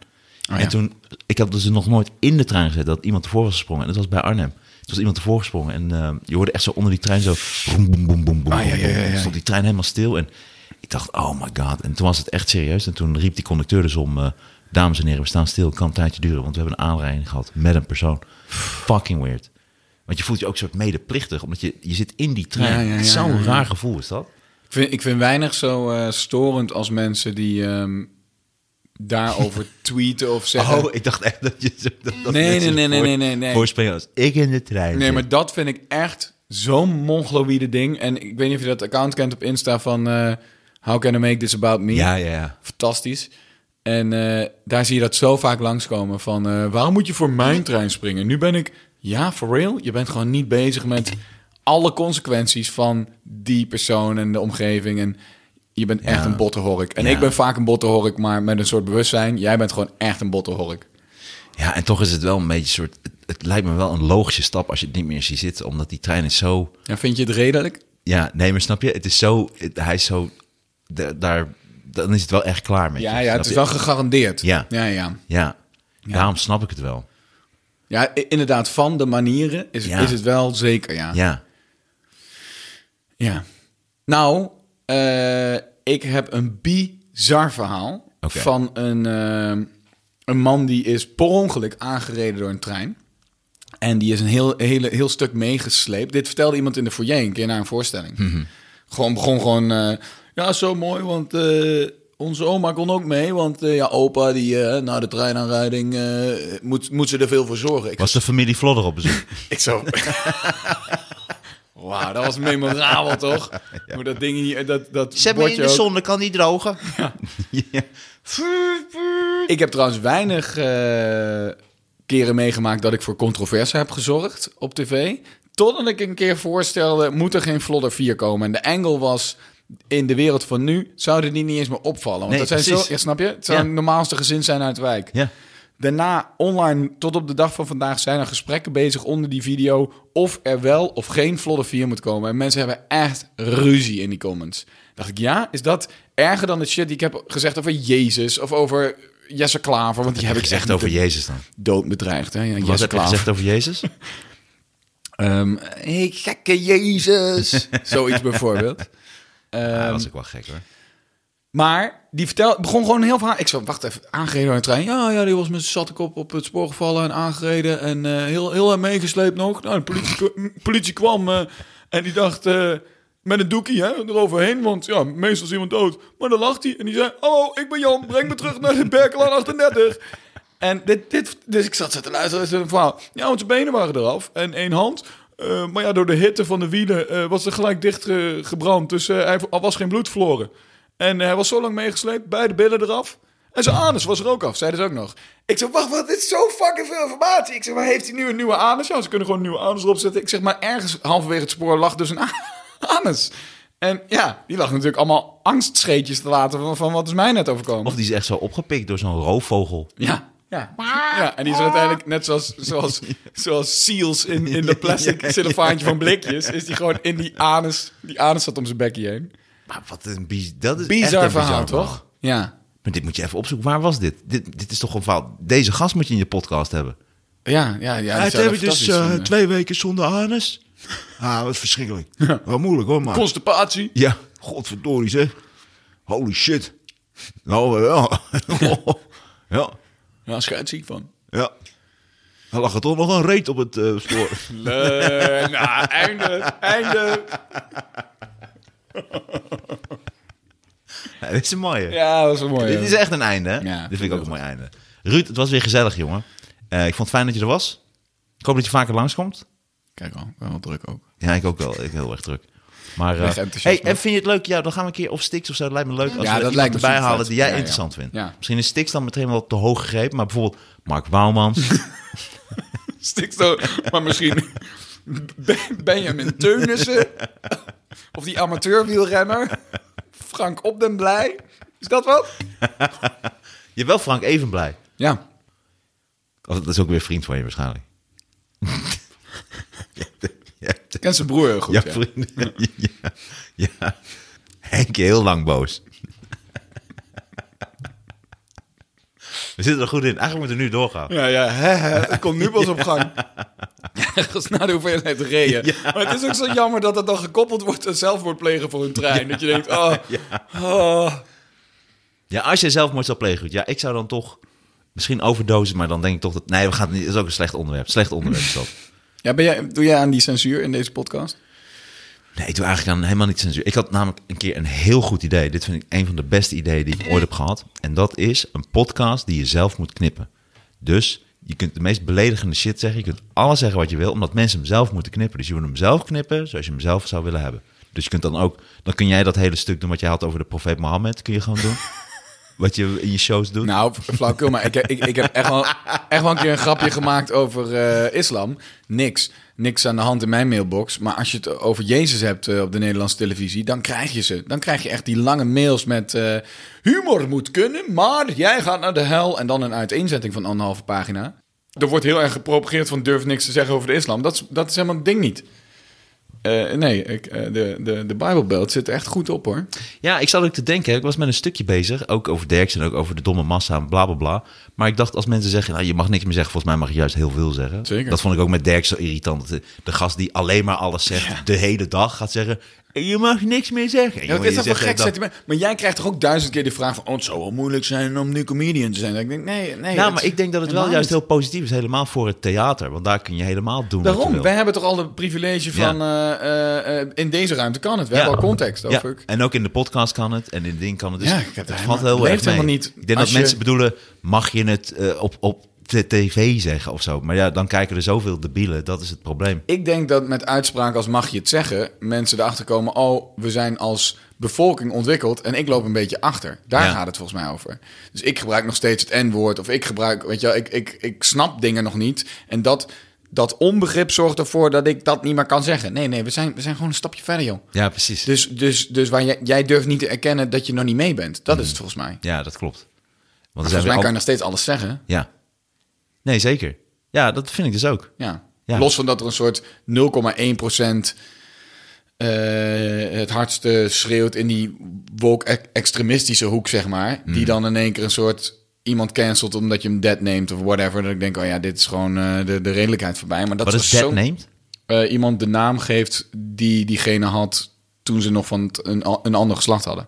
S1: Oh,
S2: en
S1: ja.
S2: toen... Ik had dus nog nooit in de trein gezet dat iemand ervoor was gesprongen. En dat was bij Arnhem. Er was iemand ervoor gesprongen. En ehm, je hoorde echt zo onder die trein zo... Boem, boem, boem, boem, boem,
S1: Ah, ja,
S2: boem,
S1: ja, ja,
S2: boem.
S1: ja.
S2: eh, Stond die trein helemaal stil. En ik dacht, oh my god. En toen was het echt serieus. En toen riep die conducteur dus om... eh, Dames en heren, we staan stil. Het kan een tijdje duren, want we hebben een aanrijding gehad met een persoon. Fucking weird. Want je voelt je ook een soort medeplichtig, omdat je, je zit in die trein.
S1: Ja, ja, ja,
S2: Zo'n
S1: ja, ja.
S2: raar gevoel is dat.
S1: Ik vind, ik vind weinig zo eh, storend als mensen die ehm, daarover tweeten of zeggen...
S2: Oh, ik dacht echt dat je... zo- Dat, dat
S1: Nee,
S2: mensen
S1: nee, nee, nee,
S2: voor-
S1: nee, nee, nee.
S2: Voorspringen als ik in de trein
S1: Nee,
S2: zit.
S1: maar dat vind ik echt zo'n mongoloïde ding. En ik weet niet of je dat account kent op Insta van... eh, How can I make this about me?
S2: Ja, ja, ja.
S1: Fantastisch. En eh, daar zie je dat zo vaak langskomen van... eh, waarom moet je voor mijn trein springen? Nu ben ik... Ja, for real? Je bent gewoon niet bezig met alle consequenties van die persoon en de omgeving. En je bent echt een bottenhork. En
S2: Ja.
S1: ik ben vaak een bottenhork, maar met een soort bewustzijn. Jij bent gewoon echt een bottenhork.
S2: Ja, en toch is het wel een beetje een soort... Het, het lijkt me wel een logische stap als je het niet meer ziet zitten, omdat die trein is zo...
S1: En vind je het redelijk?
S2: Ja, nee, maar snap je? Het is zo... het- hij is zo... da- daar, dan is het wel echt klaar met je.
S1: Ja, ja,
S2: snap
S1: het is
S2: je?
S1: wel gegarandeerd.
S2: Ja.
S1: Ja, ja.
S2: Ja. daarom snap ik het wel.
S1: ja i- inderdaad, van de manieren is,
S2: Ja.
S1: is het wel zeker, ja.
S2: Ja.
S1: Ja. Nou, eh, ik heb een bizar verhaal
S2: Oké.
S1: van een, eh, een man die is per ongeluk aangereden door een trein. En die is een heel, hele, heel stuk meegesleept. Dit vertelde iemand in de foyer een keer na een voorstelling.
S2: Mhm.
S1: Gewoon begon gewoon... eh, ja, zo mooi, want eh, onze oma kon ook mee. Want eh, ja, opa, die eh, na de treinaanrijding... eh, moet, moet ze er veel voor zorgen. Ik
S2: Was de familie Vlodder op bezoek?
S1: ik zo. Wauw, dat was memorabel toch? Hoe dat ding hier, dat, dat bordje ook.
S2: kan die drogen. Ja.
S1: Ik heb trouwens weinig eh, keren meegemaakt dat ik voor controverse heb gezorgd op tv. Totdat ik een keer voorstelde, moet er geen Vlodder 4 komen? En de angle was, in de wereld van nu zouden die niet eens meer opvallen. Want
S2: Nee,
S1: dat zijn zo,
S2: precies.
S1: ja, snap je? Het zou
S2: Ja.
S1: het normaalste gezin zijn uit de wijk.
S2: Ja.
S1: Daarna online tot op de dag van vandaag zijn er gesprekken bezig onder die video of er wel of geen Vlodder 4 moet komen. En mensen hebben echt ruzie in die comments. Dacht ik, ja, is dat erger dan de shit die ik heb gezegd over Jezus of over Jesse Klaver, want die heb ik
S2: Gezegd
S1: echt
S2: over
S1: de-
S2: Jezus dan.
S1: dood bedreigd. Hè? Ja,
S2: Wat
S1: Jesse
S2: heb je gezegd
S1: Klaver.
S2: over Jezus?
S1: Ehm, hey, gekke Jezus. Zoiets bijvoorbeeld.
S2: Ja,
S1: Ehm,
S2: dat was ik wel gek hoor.
S1: Maar die vertel, begon gewoon een heel verhaal. Ik zei, wacht even, aangereden door een trein. Ja, ja, die was met zijn zatte kop op het spoor gevallen en aangereden. En eh, heel, heel erg meegesleept nog. Nou, de politie, k- politie kwam eh, en die dacht, eh, met een doekie hè, eroverheen. Want ja, meestal is iemand dood. Maar dan lacht hij en die zei, oh, ik ben Jan, breng me terug naar de Berkelaan 38. En dit, dit, dus ik zat zo te luisteren naar een verhaal. Ja, want zijn benen waren eraf en één hand. Eh, maar ja, door de hitte van de wielen eh, was er gelijk dicht eh, gebrand. Dus eh, hij er was geen bloed verloren. En eh, hij was zo lang meegesleept, beide billen eraf. En zijn anus was er ook af, zeiden ze ook nog. Ik zeg, wacht, wat, dit is zo fucking veel informatie. Ik zeg, maar heeft hij nu een nieuwe anus? Ja, ze kunnen gewoon een nieuwe anus erop zetten. Ik zeg, maar ergens halverwege het spoor lag dus een anus. En ja, die lag natuurlijk allemaal angstscheetjes te laten van, van wat is mij net overkomen.
S2: Of die is echt zo opgepikt door zo'n roofvogel.
S1: Ja. Ja. ja, en die is uiteindelijk net zoals, zoals, zoals seals in, in de plastic cellofaantje van blikjes... is die gewoon in die anus... Die anus zat om zijn bekje heen.
S2: Maar wat een bizar... Dat is echt een
S1: Bizar
S2: bizar
S1: verhaal,
S2: verhaal.
S1: toch? Ja.
S2: Maar dit moet je even opzoeken. Waar was dit? Dit, dit is toch een verhaal. Deze gast moet je in je podcast hebben.
S1: Ja, ja, ja. die zou er
S2: dus,
S1: fantastisch van, eh,
S3: twee weken zonder anus. Ah, wat verschrikkelijk. Wel moeilijk hoor, man.
S1: Constipatie.
S3: Ja, godverdorie zeg. Holy shit. Nou, ja. ja,
S1: Ja, scheidsziek van.
S3: ja. Er lag er toch nog een reet op het eh, spoor.
S1: Le nou, einde, einde.
S2: Ja, dit is een mooie.
S1: Ja, dat is wel mooi.
S2: Dit is echt een einde, hè?
S1: Ja,
S2: dit vind ik ook een mooi einde. Ruud, het was weer gezellig, jongen. Eh, ik vond het fijn dat je er was. Ik hoop dat je vaker langskomt.
S1: Kijk al, wel druk ook.
S2: Ja, ik ook wel. Ik ben heel erg druk. Maar eh,
S1: Weg enthousiasme.
S2: hey, en vind je het leuk? Ja, dan gaan we een keer of Stix of zo. Dat lijkt me leuk als
S1: Ja,
S2: we
S1: dat
S2: iemand
S1: lijkt me
S2: erbij
S1: super
S2: halen
S1: vet.
S2: die jij
S1: Ja, ja.
S2: interessant vindt.
S1: Ja.
S2: Misschien is Stix dan meteen wel te hoog gegrepen. Maar bijvoorbeeld Mark Bouwmans.
S1: Stik zo, maar misschien Ben- Benjamin Teunissen. Of die amateurwielrenner. Frank Op den Blij. Is dat wat?
S2: Jawel, Frank Evenblij.
S1: Ja.
S2: Of, dat is ook weer vriend van je waarschijnlijk.
S1: Ik ken zijn broer heel goed.
S2: Ja,
S1: ja.
S2: vriend. Ja. ja. Henk heel lang boos. We zitten er goed in. Eigenlijk moeten we nu doorgaan.
S1: Ja, ja, hè, hè, het komt nu pas op gang. Ergens na de hoeveelheid reden. Maar het is ook zo jammer dat dat dan gekoppeld wordt aan zelfmoord plegen voor een trein. Dat je denkt, oh, oh.
S2: Ja, als jij zelfmoord zou plegen, goed. Ja, ik zou dan toch misschien overdosen, maar dan denk ik toch dat... Nee, we gaan het niet... Dat is ook een slecht onderwerp. Slecht onderwerp is dat.
S1: Ja, ben jij, doe jij aan die censuur in deze podcast?
S2: Nee, ik doe eigenlijk aan helemaal niet censuur. Ik had namelijk een keer een heel goed idee. Dit vind ik een van de beste ideeën die ik ooit heb gehad. En dat is een podcast die je zelf moet knippen. Dus je kunt de meest beledigende shit zeggen. Je kunt alles zeggen wat je wil, omdat mensen hem zelf moeten knippen. Dus je moet hem zelf knippen zoals je hem zelf zou willen hebben. Dus je kunt dan ook, dan kun jij dat hele stuk doen wat jij had over de profeet Mohammed. Kun je gewoon doen. wat je in je shows doet.
S1: Nou, flauwkul, maar ik, ik, ik heb echt wel, echt wel een keer een grapje gemaakt over eh, islam. Niks. Niks aan de hand in mijn mailbox. Maar als je het over Jezus hebt eh, op de Nederlandse televisie, dan krijg je ze. Dan krijg je echt die lange mails met eh, humor moet kunnen, maar jij gaat naar de hel. En dan een uiteenzetting van anderhalve pagina. Er wordt heel erg gepropageerd van durf niks te zeggen over de islam. Dat is, dat is helemaal het ding niet. Eh, nee, ik, eh, de, de, de Bible Belt zit er echt goed op hoor.
S2: Ja, ik zat ook te denken. Ik was met een stukje bezig. Ook over Derks en ook over de domme massa en bla bla bla. Maar ik dacht als mensen zeggen, nou, je mag niks meer zeggen. Volgens mij mag je juist heel veel zeggen.
S1: Zeker.
S2: Dat vond ik ook met Derks zo irritant. Dat de, de gast die alleen maar alles zegt de hele dag gaat zeggen... "Eh, Je mag niks meer zeggen.
S1: Ja, wat
S2: Jongen,
S1: is
S2: je
S1: dat voor
S2: zegt eh,
S1: gek
S2: dat-
S1: sentiment? Maar jij krijgt toch ook duizend keer de vraag van... oh, het zou wel moeilijk zijn om nu comedian te zijn. Dat Ik denk, nee, nee.
S2: Nou,
S1: het-
S2: maar ik denk dat het wel
S1: helemaal
S2: juist
S1: niet.
S2: heel positief is. Helemaal voor het theater. Want daar kun je helemaal doen wat je
S1: Daarom,
S2: wil.
S1: wij hebben toch al het privilege van... eh, eh, eh, in deze ruimte kan het. We hebben al context
S2: Ja.
S1: over...
S2: En ook in de podcast kan het en in het ding kan het. Dus
S1: Ja, ik
S2: ja,
S1: heb
S2: ik heb
S1: daar
S2: het
S1: helemaal-
S2: valt heel
S1: leeft
S2: erg mee.
S1: helemaal niet.
S2: Ik denk
S1: Als
S2: dat
S1: je-
S2: mensen bedoelen, mag je het eh, op, op de tv zeggen of zo? Maar ja, dan kijken er zoveel debielen. Dat is het probleem.
S1: Ik denk dat met uitspraken als mag je het zeggen... mensen erachter komen... oh, we zijn als bevolking ontwikkeld... en ik loop een beetje achter. Daar
S2: Ja.
S1: gaat het volgens mij over. Dus ik gebruik nog steeds het N-woord... of ik gebruik... weet je wel, ik, ik, ik snap dingen nog niet. En dat, dat onbegrip zorgt ervoor dat ik dat niet meer kan zeggen. Nee, nee, we zijn, we zijn gewoon een stapje verder, joh.
S2: Ja, precies.
S1: Dus, dus, dus waar jij, jij durft niet te erkennen dat je nog niet mee bent. Dat is het volgens mij.
S2: Ja, dat klopt. Want er zijn
S1: Volgens
S2: weer
S1: mij kan je
S2: al-
S1: nog steeds alles zeggen.
S2: Ja. Nee, zeker. Ja, dat vind ik dus ook.
S1: Ja.
S2: Ja.
S1: Los van dat er een soort 0,1% eh, het
S2: Hmm.
S1: hardste schreeuwt in die woke e- extremistische hoek, zeg maar. Die dan in één keer een soort iemand cancelt omdat je hem dead neemt of whatever. Dat ik denk, oh ja, dit is gewoon eh, de, de redelijkheid voorbij. Maar dat
S2: Wat
S1: was
S2: is dead
S1: zo...
S2: named?
S1: Eh, iemand de naam geeft die diegene had toen ze nog van het- een, a- een ander geslacht hadden.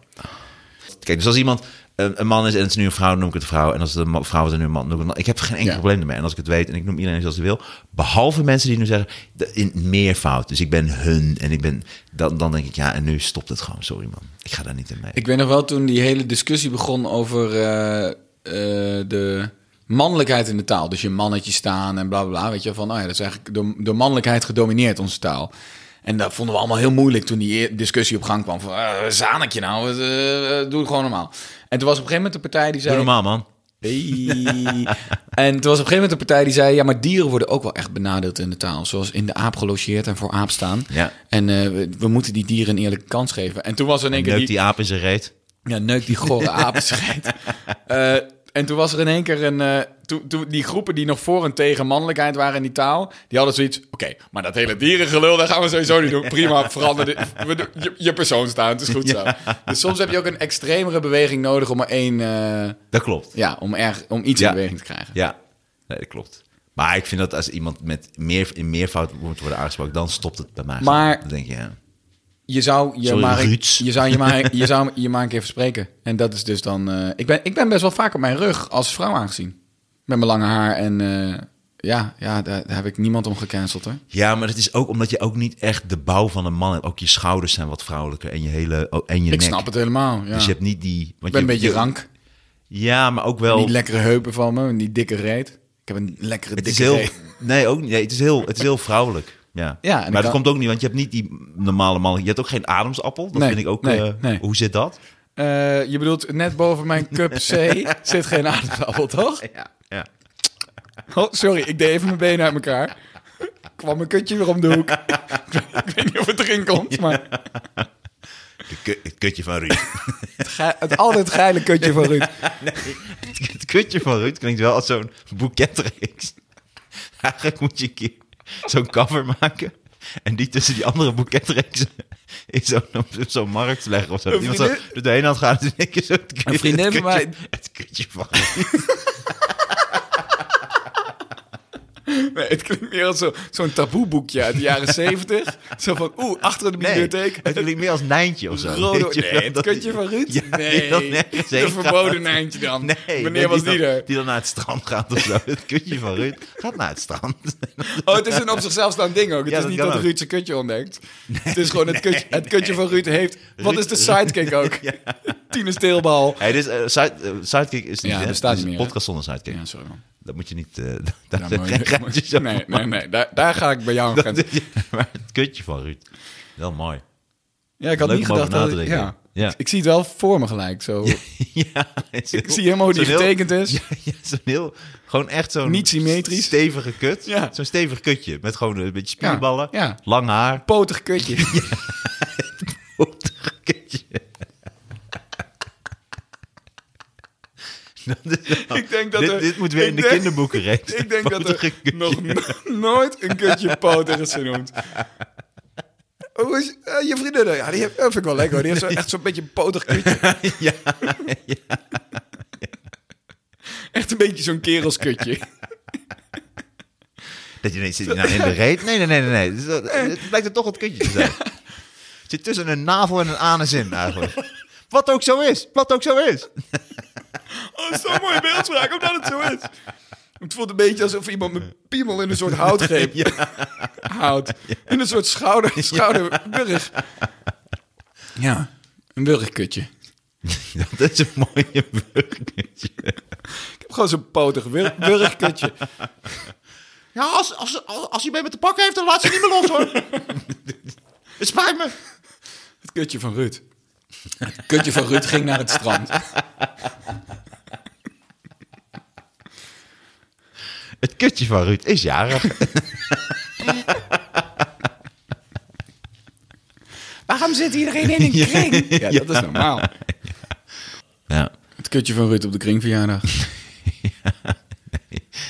S2: Kijk, dus als iemand een, een man is en het is nu een vrouw, dan noem ik het een vrouw. En als het een ma- vrouw is en nu een man, noem ik het een man. Ik heb geen enkel
S1: Ja.
S2: probleem ermee. En als ik het weet en ik noem iedereen zoals hij wil. Behalve mensen die nu zeggen, de- in meervoud. Dus ik ben hun en ik ben... Dan, dan denk ik, ja, en nu stopt het gewoon. Sorry man, ik ga daar niet in mee.
S1: Ik weet nog wel toen die hele discussie begon over eh, eh, de mannelijkheid in de taal. Dus je mannetje staan en bla bla bla. Weet je van, nou ja, dat is eigenlijk door, door mannelijkheid gedomineerd onze taal. En dat vonden we allemaal heel moeilijk toen die e- discussie op gang kwam. Van, eh, zanik je nou, eh, eh, doe het gewoon normaal. En toen was op een gegeven moment de partij die
S2: Doe
S1: zei...
S2: normaal man.
S1: Hey. en toen was op een gegeven moment een partij die zei... ja, maar dieren worden ook wel echt benadeeld in de taal. Zoals in de aap gelogeerd en voor aap staan.
S2: Ja.
S1: En eh, we, we moeten die dieren een eerlijke kans geven. En toen was er in één keer
S2: Neukt
S1: die...
S2: die aap in zijn reet.
S1: Ja, neuk die gore apenscheid. Eh, en toen was er in één keer een... eh, toen, toen die groepen die nog voor en tegen mannelijkheid waren in die taal... die hadden zoiets... oké, maar dat hele dierengelul, dat gaan we sowieso niet doen. Prima, verander dit. We doen- je, je persoon staan, het is goed zo. Dus soms heb je ook een extremere beweging nodig... om maar één... eh,
S2: Dat klopt.
S1: ja, om, erg, om iets
S2: Ja.
S1: in beweging te krijgen.
S2: Ja, nee, dat klopt. Maar ik vind dat als iemand met meer, in meervoud moet worden aangesproken, dan stopt het bij mij.
S1: Maar-
S2: Dan denk je, ja.
S1: Je zou je,
S2: Sorry,
S1: maar, een-
S2: Ruud.
S1: je, zou je, maar, je zou je maar een keer verspreken. En dat is dus dan... eh, ik, ben, ik ben best wel vaak op mijn rug als vrouw aangezien. Met mijn lange haar en... eh, ja, ja daar, daar heb ik niemand om gecanceld, hoor.
S2: Ja, maar het is ook omdat je ook niet echt de bouw van een man hebt. Ook je schouders zijn wat vrouwelijker en je hele oh, en je
S1: Ik
S2: nek.
S1: snap het helemaal, ja.
S2: Dus je hebt niet die. Want
S1: ik ben een
S2: je, Oh.
S1: beetje
S2: je-
S1: rank.
S2: Ja, maar ook wel.
S1: Die lekkere heupen van me en die dikke reet. Ik heb een lekkere
S2: het is
S1: dikke
S2: heel.
S1: reet.
S2: Nee, ook niet. Nee, het is heel. Het is heel vrouwelijk. Ja.
S1: Ja, en
S2: maar
S1: ik
S2: dat
S1: kan-
S2: komt ook niet, want je hebt niet die normale man. Je hebt ook geen Adamsappel. Dat
S1: Nee,
S2: vind ik ook.
S1: nee,
S2: eh,
S1: nee.
S2: Hoe zit dat?
S1: Eh, je bedoelt, net boven mijn cup C zit geen aardappel, toch?
S2: Ja.
S1: Oh, sorry, ik deed even mijn benen uit elkaar. kwam mijn kutje weer om de hoek. ik weet niet of het erin komt, maar...
S2: De ku- het kutje van Ruud.
S1: Ge- het altijd geile kutje van Ruud.
S2: het kutje van Ruud klinkt wel als zo'n boeketreeks. Eigenlijk moet je een keer zo'n cover maken. En die tussen die andere boeketreeksen in zo'n op zo'n markt leggen of zo.
S1: Een
S2: Iemand zo
S1: vriendin-
S2: door de ene hand gaat en in één keer zo het kutje,
S1: Een vriendin
S2: het
S1: van
S2: kutje-
S1: mij-
S2: Het kutje van Ruud.
S1: Nee, het klinkt meer als zo- zo'n taboeboekje uit de jaren zeventig. Zo van, oeh, achter de bibliotheek.
S2: het klinkt meer als Nijntje of zo.
S1: Rode,
S2: weet je wel,
S1: nee, het
S2: dat die-
S1: kutje van Ruud?
S2: Ja, die
S1: nee,
S2: dan nergens heen
S1: de verboden
S2: gaat.
S1: eindje dan.
S2: Nee,
S1: Wanneer was
S2: die
S1: die
S2: dan-
S1: er?
S2: Die dan naar het strand gaat of zo. Het kutje van Ruud gaat naar het strand.
S1: Oh, het is een op zichzelf staand ding ook. Het
S2: Ja,
S1: is
S2: dat
S1: niet
S2: kan
S1: dat
S2: ook.
S1: Ruud zijn kutje ontdekt. het is gewoon het kutje, het kutje van Ruud heeft... Wat
S2: Ruud-
S1: is de sidekick ook? Tine Steelbal.
S2: Hey, dus, eh, side- eh, sidekick is niet,
S1: Ja,
S2: hè?
S1: bestaat
S2: Het is
S1: niet
S2: een
S1: meer,
S2: podcast zonder sidekick.
S1: Ja, sorry man.
S2: Dat moet je niet... eh, daar
S1: Ja,
S2: zijn
S1: maar-
S2: geen geintjes over
S1: nee, nee,
S2: maken.
S1: nee. Daar, daar ga ik bij jou aan
S2: Dat
S1: gaan.
S2: is- maar het kutje van Ruud. Wel mooi.
S1: Ja, ik had
S2: Leuk
S1: niet
S2: om over
S1: gedacht
S2: na
S1: dat...
S2: te
S1: ik-
S2: denken.
S1: Ja.
S2: Ja.
S1: Ik zie het wel voor me gelijk. Zo.
S2: ja, ik
S1: zie helemaal hoe die getekend is.
S2: Ja, ja, zo'n heel... Gewoon echt zo'n...
S1: Niet symmetrisch.
S2: Stevige kut.
S1: Ja.
S2: Zo'n stevig kutje. Met gewoon een beetje
S1: Ja,
S2: spierballen.
S1: ja.
S2: Lang haar.
S1: Potig kutje.
S2: Potig kutje. Dat is wel-
S1: Ik denk dat
S2: dit,
S1: er-
S2: dit moet weer
S1: ik
S2: in de
S1: denk-
S2: kinderboeken reeks.
S1: Ik denk dat er
S2: Potige kutje.
S1: nog no- nooit een kutje poter is genoemd. Hoe is eh, je vriendin? Ja, die heeft, dat vind ik wel lekker. hoor. Die heeft zo, echt zo'n beetje een potig kutje.
S2: Ja.
S1: Echt een beetje zo'n kerelskutje.
S2: Dat je ineens zit je nou in de reet. Nee, nee, nee, nee. nee. Dus dat- Het blijkt er toch het kutje te zijn. Het zit tussen een navel en een anus in eigenlijk. Wat ook zo is. Wat ook zo is.
S1: Oh, dat is zo'n mooie beeldspraak, omdat het zo is. Het voelt een beetje alsof iemand met piemel in een soort houtgreep houdt. In een soort schouder, schouderburg. Ja, een burgerkutje.
S2: Dat is een mooie burgertje.
S1: Ik heb gewoon zo'n potig bur- burgerkutje.
S2: Ja, als, als, als, als hij mee met de pak heeft, dan laat ze niet meer los hoor. Het spijt me.
S1: Het kutje van Ruud. Het kutje van Ruud ging naar het strand.
S2: Het kutje van Ruud is jarig.
S1: Waarom zit iedereen in een kring? Ja, dat is normaal.
S2: Ja.
S1: Het kutje van Ruud op de kringverjaardag.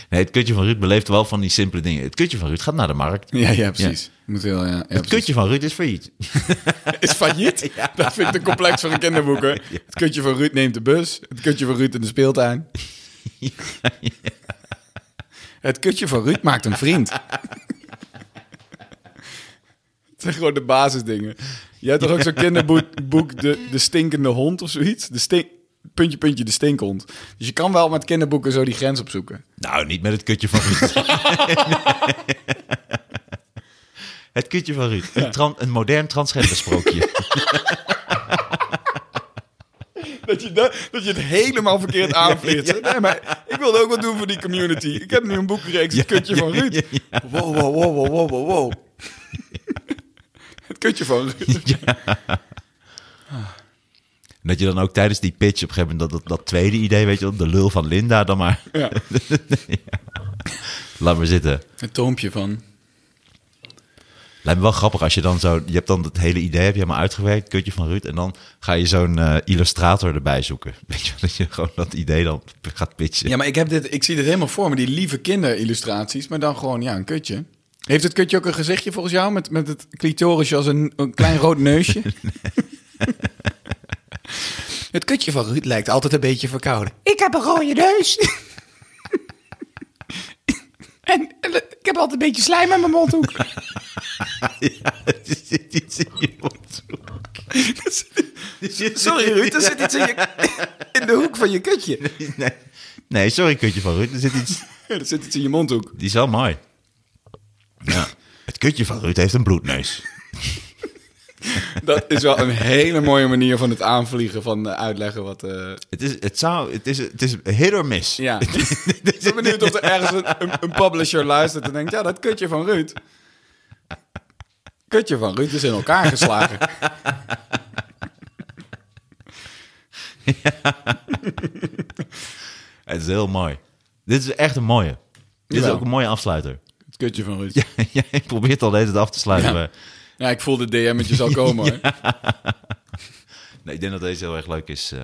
S2: Nee, het kutje van Ruud beleeft wel van die simpele dingen. Het kutje van Ruud gaat naar de markt.
S1: Ja, ja, precies. Moet heel, ja, ja,
S2: Het
S1: precies.
S2: kutje van Ruud is failliet.
S1: is failliet. Dat vind ik een complex van een kinderboeken. Het kutje van Ruud neemt de bus. Het kutje van Ruud in de speeltuin. Het kutje van Ruud maakt een vriend. Het zijn gewoon de basisdingen. Je hebt toch ook zo'n kinderboek boek de, de Stinkende Hond of zoiets? De stink, puntje, puntje, De Stinkhond. Dus je kan wel met kinderboeken zo die grens opzoeken.
S2: Nou, niet met het kutje van Ruud. het kutje van Ruud. Een, tran- een modern transgender sprookje.
S1: Dat je, da- dat je het helemaal verkeerd aanvliegt. Nee, maar ik wilde ook wat doen voor die community. Ik heb nu een boekreeks, Het Kutje van Ruud. Wow, wow, wow, wow, wow, wow, wow. Het Kutje van Ruud.
S2: dat je dan ook tijdens die pitch op een gegeven moment dat, dat, dat tweede idee, weet je wel, de lul van Linda dan maar.
S1: Ja.
S2: Laat maar zitten.
S1: Het toompje van...
S2: Lijkt me wel grappig als je dan zo... Je hebt dan het hele idee, heb je helemaal uitgewerkt, kutje van Ruud. En dan ga je zo'n eh, illustrator erbij zoeken. Weet je wel, dat je gewoon dat idee dan gaat pitchen.
S1: Ja, maar ik, heb dit, ik zie dit helemaal voor me, die lieve kinderillustraties, maar dan gewoon ja, een kutje. Heeft het kutje ook een gezichtje volgens jou met, met het clitorisje als een, een klein rood neusje? het kutje van Ruud lijkt altijd een beetje verkouden. Ik heb een rode neus. en, en ik heb altijd een beetje slijm aan mijn mondhoek. Sorry Ruud, er zit iets in, je, in de hoek van je kutje.
S2: Nee, nee, sorry kutje van Ruud. Er zit iets...
S1: Er zit iets in je mondhoek.
S2: Die is wel mooi. Ja. Het kutje van Ruud heeft een bloedneus.
S1: Dat is wel een hele mooie manier van het aanvliegen, van eh, uitleggen wat... eh,
S2: Het is, het zou, het is, het is hit or miss.
S1: ja. ik ben benieuwd of er ergens een, een, een publisher luistert en denkt, ja, dat kutje van Ruud. Kutje van Ruud is in elkaar geslagen.
S2: Het is heel mooi. Dit is echt een mooie. Dit is
S1: Jawel.
S2: ook een mooie afsluiter.
S1: Het kutje van Ruud. Ja,
S2: Ja, jij probeert al deze af te sluiten.
S1: Ja.
S2: maar-
S1: ik voel de DM'tjes al komen. hoor.
S2: Nee, ik denk dat deze heel erg leuk is. eh.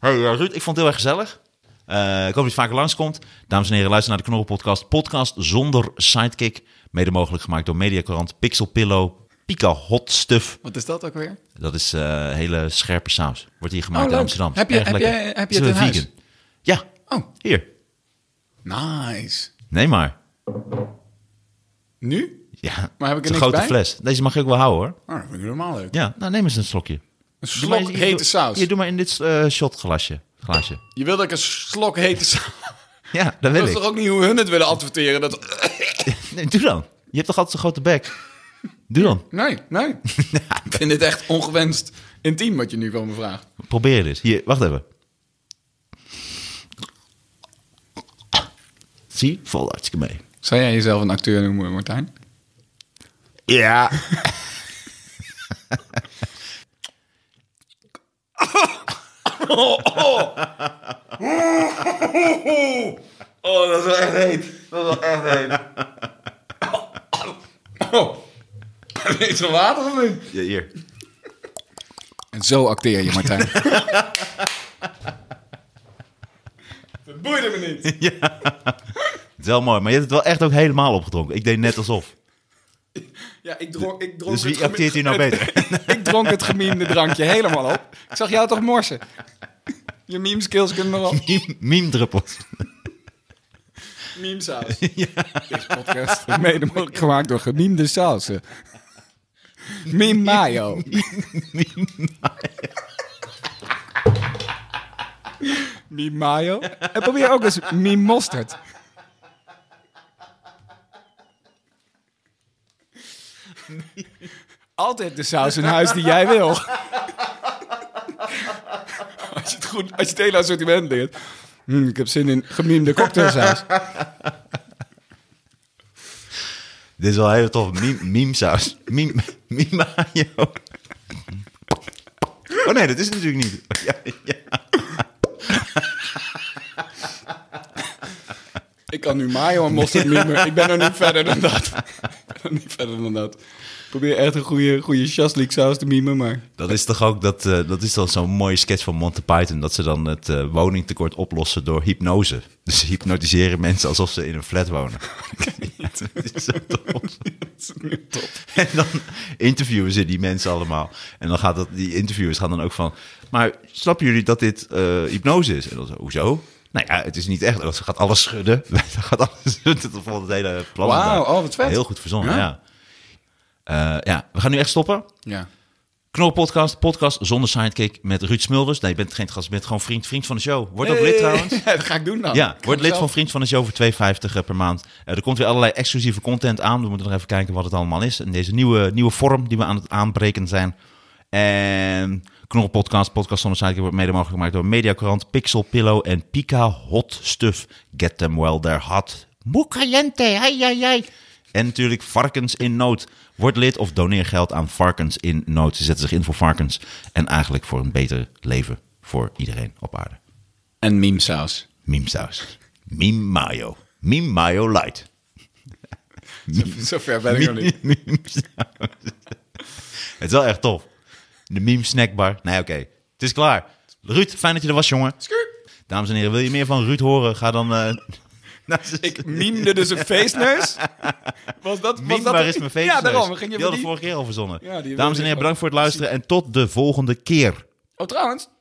S2: Hey, eh, Ruud, ik vond het heel erg gezellig. Eh, ik hoop dat je vaker langskomt. Dames en heren, luister naar de Knorrelpodcast. Podcast zonder sidekick. Mede mogelijk gemaakt door Mediacorant, Pixel Pillow, Pika Hot Stuff.
S1: Wat is dat ook weer?
S2: Dat is eh, hele scherpe saus. Wordt hier gemaakt
S1: Oh,
S2: in
S1: leuk.
S2: Amsterdam.
S1: Heb je-
S2: Erg
S1: heb
S2: lekker.
S1: jij- heb je
S2: Ze
S1: het
S2: willen
S1: in
S2: vegan. Ja,
S1: Oh,
S2: hier.
S1: nice.
S2: Nee maar.
S1: Nu?
S2: Ja,
S1: Maar heb ik er
S2: het is een
S1: niks
S2: grote
S1: bij?
S2: fles. Deze mag ik ook wel houden hoor.
S1: Oh, dat vind ik helemaal leuk.
S2: Ja, nou neem eens een slokje.
S1: Een
S2: Doe maar
S1: slok
S2: eens-
S1: hete
S2: doe-
S1: saus.
S2: Hier, doe maar in dit eh, shotglasje. Glaasje.
S1: Je wil dat ik een slok hete saus...
S2: Ja, dat wil
S1: Dat is
S2: ik.
S1: toch ook niet hoe hun het willen adverteren? Dat...
S2: Nee, doe dan. Je hebt toch altijd zo'n grote bek? Doe dan.
S1: Nee, nee. ik vind dit echt ongewenst intiem wat je nu van me vraagt.
S2: Probeer het eens. Hier, wacht even. Zie, valt hartstikke mee.
S1: Zou jij jezelf een acteur noemen, Martijn?
S2: Ja.
S1: Oh, dat is wel echt heet. Dat is wel echt heet. Oh. Is er water of niet?
S2: ja hier.
S1: En zo acteer je, Martijn. dat boeide me niet.
S2: Het is wel mooi, maar je hebt het wel echt ook helemaal opgedronken. Ik deed net alsof.
S1: Ja, ik dronk, ik dronk
S2: Dus wie
S1: het gemi-
S2: acteert hier nou beter?
S1: Ik dronk het gemiemde drankje helemaal op. Ik zag jou toch morsen? Je meme skills kunnen nog op.
S2: Miem- Miemdruppels.
S1: Meme saus. Deze podcast wordt mede mogelijk gemaakt door gemiemde sausen. Meme mayo. Meme mayo. En probeer ook eens meme mosterd. Altijd de saus in huis die jij wil. Als je het, goed, als je het hele assortiment leert. Hm, ik heb zin in gemiemde cocktailsaus.
S2: Dit is wel heel tof. Miem- Miemsaus. Miem- Miemayo. Oh nee, dat is het natuurlijk niet. Ja, ja.
S1: Ik kan nu mayo en mosterd mimen. Ik ben er niet verder dan dat. Ik ben er niet verder dan dat. Ik probeer echt een goede, goede chaslik saus te mimen, maar...
S2: Dat is toch ook dat, eh, dat is dan zo'n mooie sketch van Monty Python. Dat ze dan het eh, woningtekort oplossen door hypnose. Dus ze hypnotiseren mensen alsof ze in een flat wonen. dat is zo tof. En dan interviewen ze die mensen allemaal. En dan gaat dat, die interviewers gaan dan ook van... Maar snappen jullie dat dit eh, hypnose is? En dan zo, hoezo? Nou ja, het is niet echt. Ze gaat alles schudden. Ze gaat alles schudden. Tot volgende het hele plan.
S1: Wauw, oh, wat vet.
S2: Heel goed verzonnen,
S1: Ja?
S2: ja. Eh, ja, we gaan nu echt stoppen.
S1: Ja.
S2: Knorrelpodcast, podcast zonder sidekick met Ruud Smulders. Nee, je bent geen gast, je bent gewoon vriend, vriend van de show. Word ook lid trouwens.
S1: dat ga ik doen dan.
S2: Ja,
S1: Nou, Ik ga
S2: word lid
S1: mezelf-
S2: van Vriend van de Show voor 2,50 per maand. Eh, er komt weer allerlei exclusieve content aan. We moeten nog even kijken wat het allemaal is. En deze nieuwe, nieuwe vorm die we aan het aanbreken zijn. En Knol Podcast, Podcast zonder Sidekick wordt mede mogelijk gemaakt door Mediacorant, Pixel Pillow en Pika Hot Stuff. Get them well, they're hot. Muy caliente, ai, ai, ai. En natuurlijk Varkens in Nood. Word lid of doneer geld aan Varkens in Nood. Ze zetten zich in voor varkens en eigenlijk voor een beter leven voor iedereen op aarde.
S1: En memesaus.
S2: Meme-saus. Meme mayo. Meme mayo light.
S1: Zover ben ik nog niet.
S2: Meme-saus. Het is wel echt tof. De meme snackbar. Nee, oké. Het is klaar. Ruud, fijn dat je er was, jongen. Dames en heren, wil je meer van Ruud horen? Ga dan... eh naar zijn-
S1: Ik mimde dus een feestneus. Was dat, was
S2: Meme,
S1: dat
S2: waar is mijn feestneus?
S1: Ja, daarom. Ging je
S2: die
S1: van
S2: hadden
S1: die...
S2: vorige keer al verzonnen.
S1: Ja, die
S2: Dames en
S1: wilde ik
S2: heren,
S1: ook.
S2: bedankt voor het luisteren en tot de volgende keer.
S1: Oh, trouwens.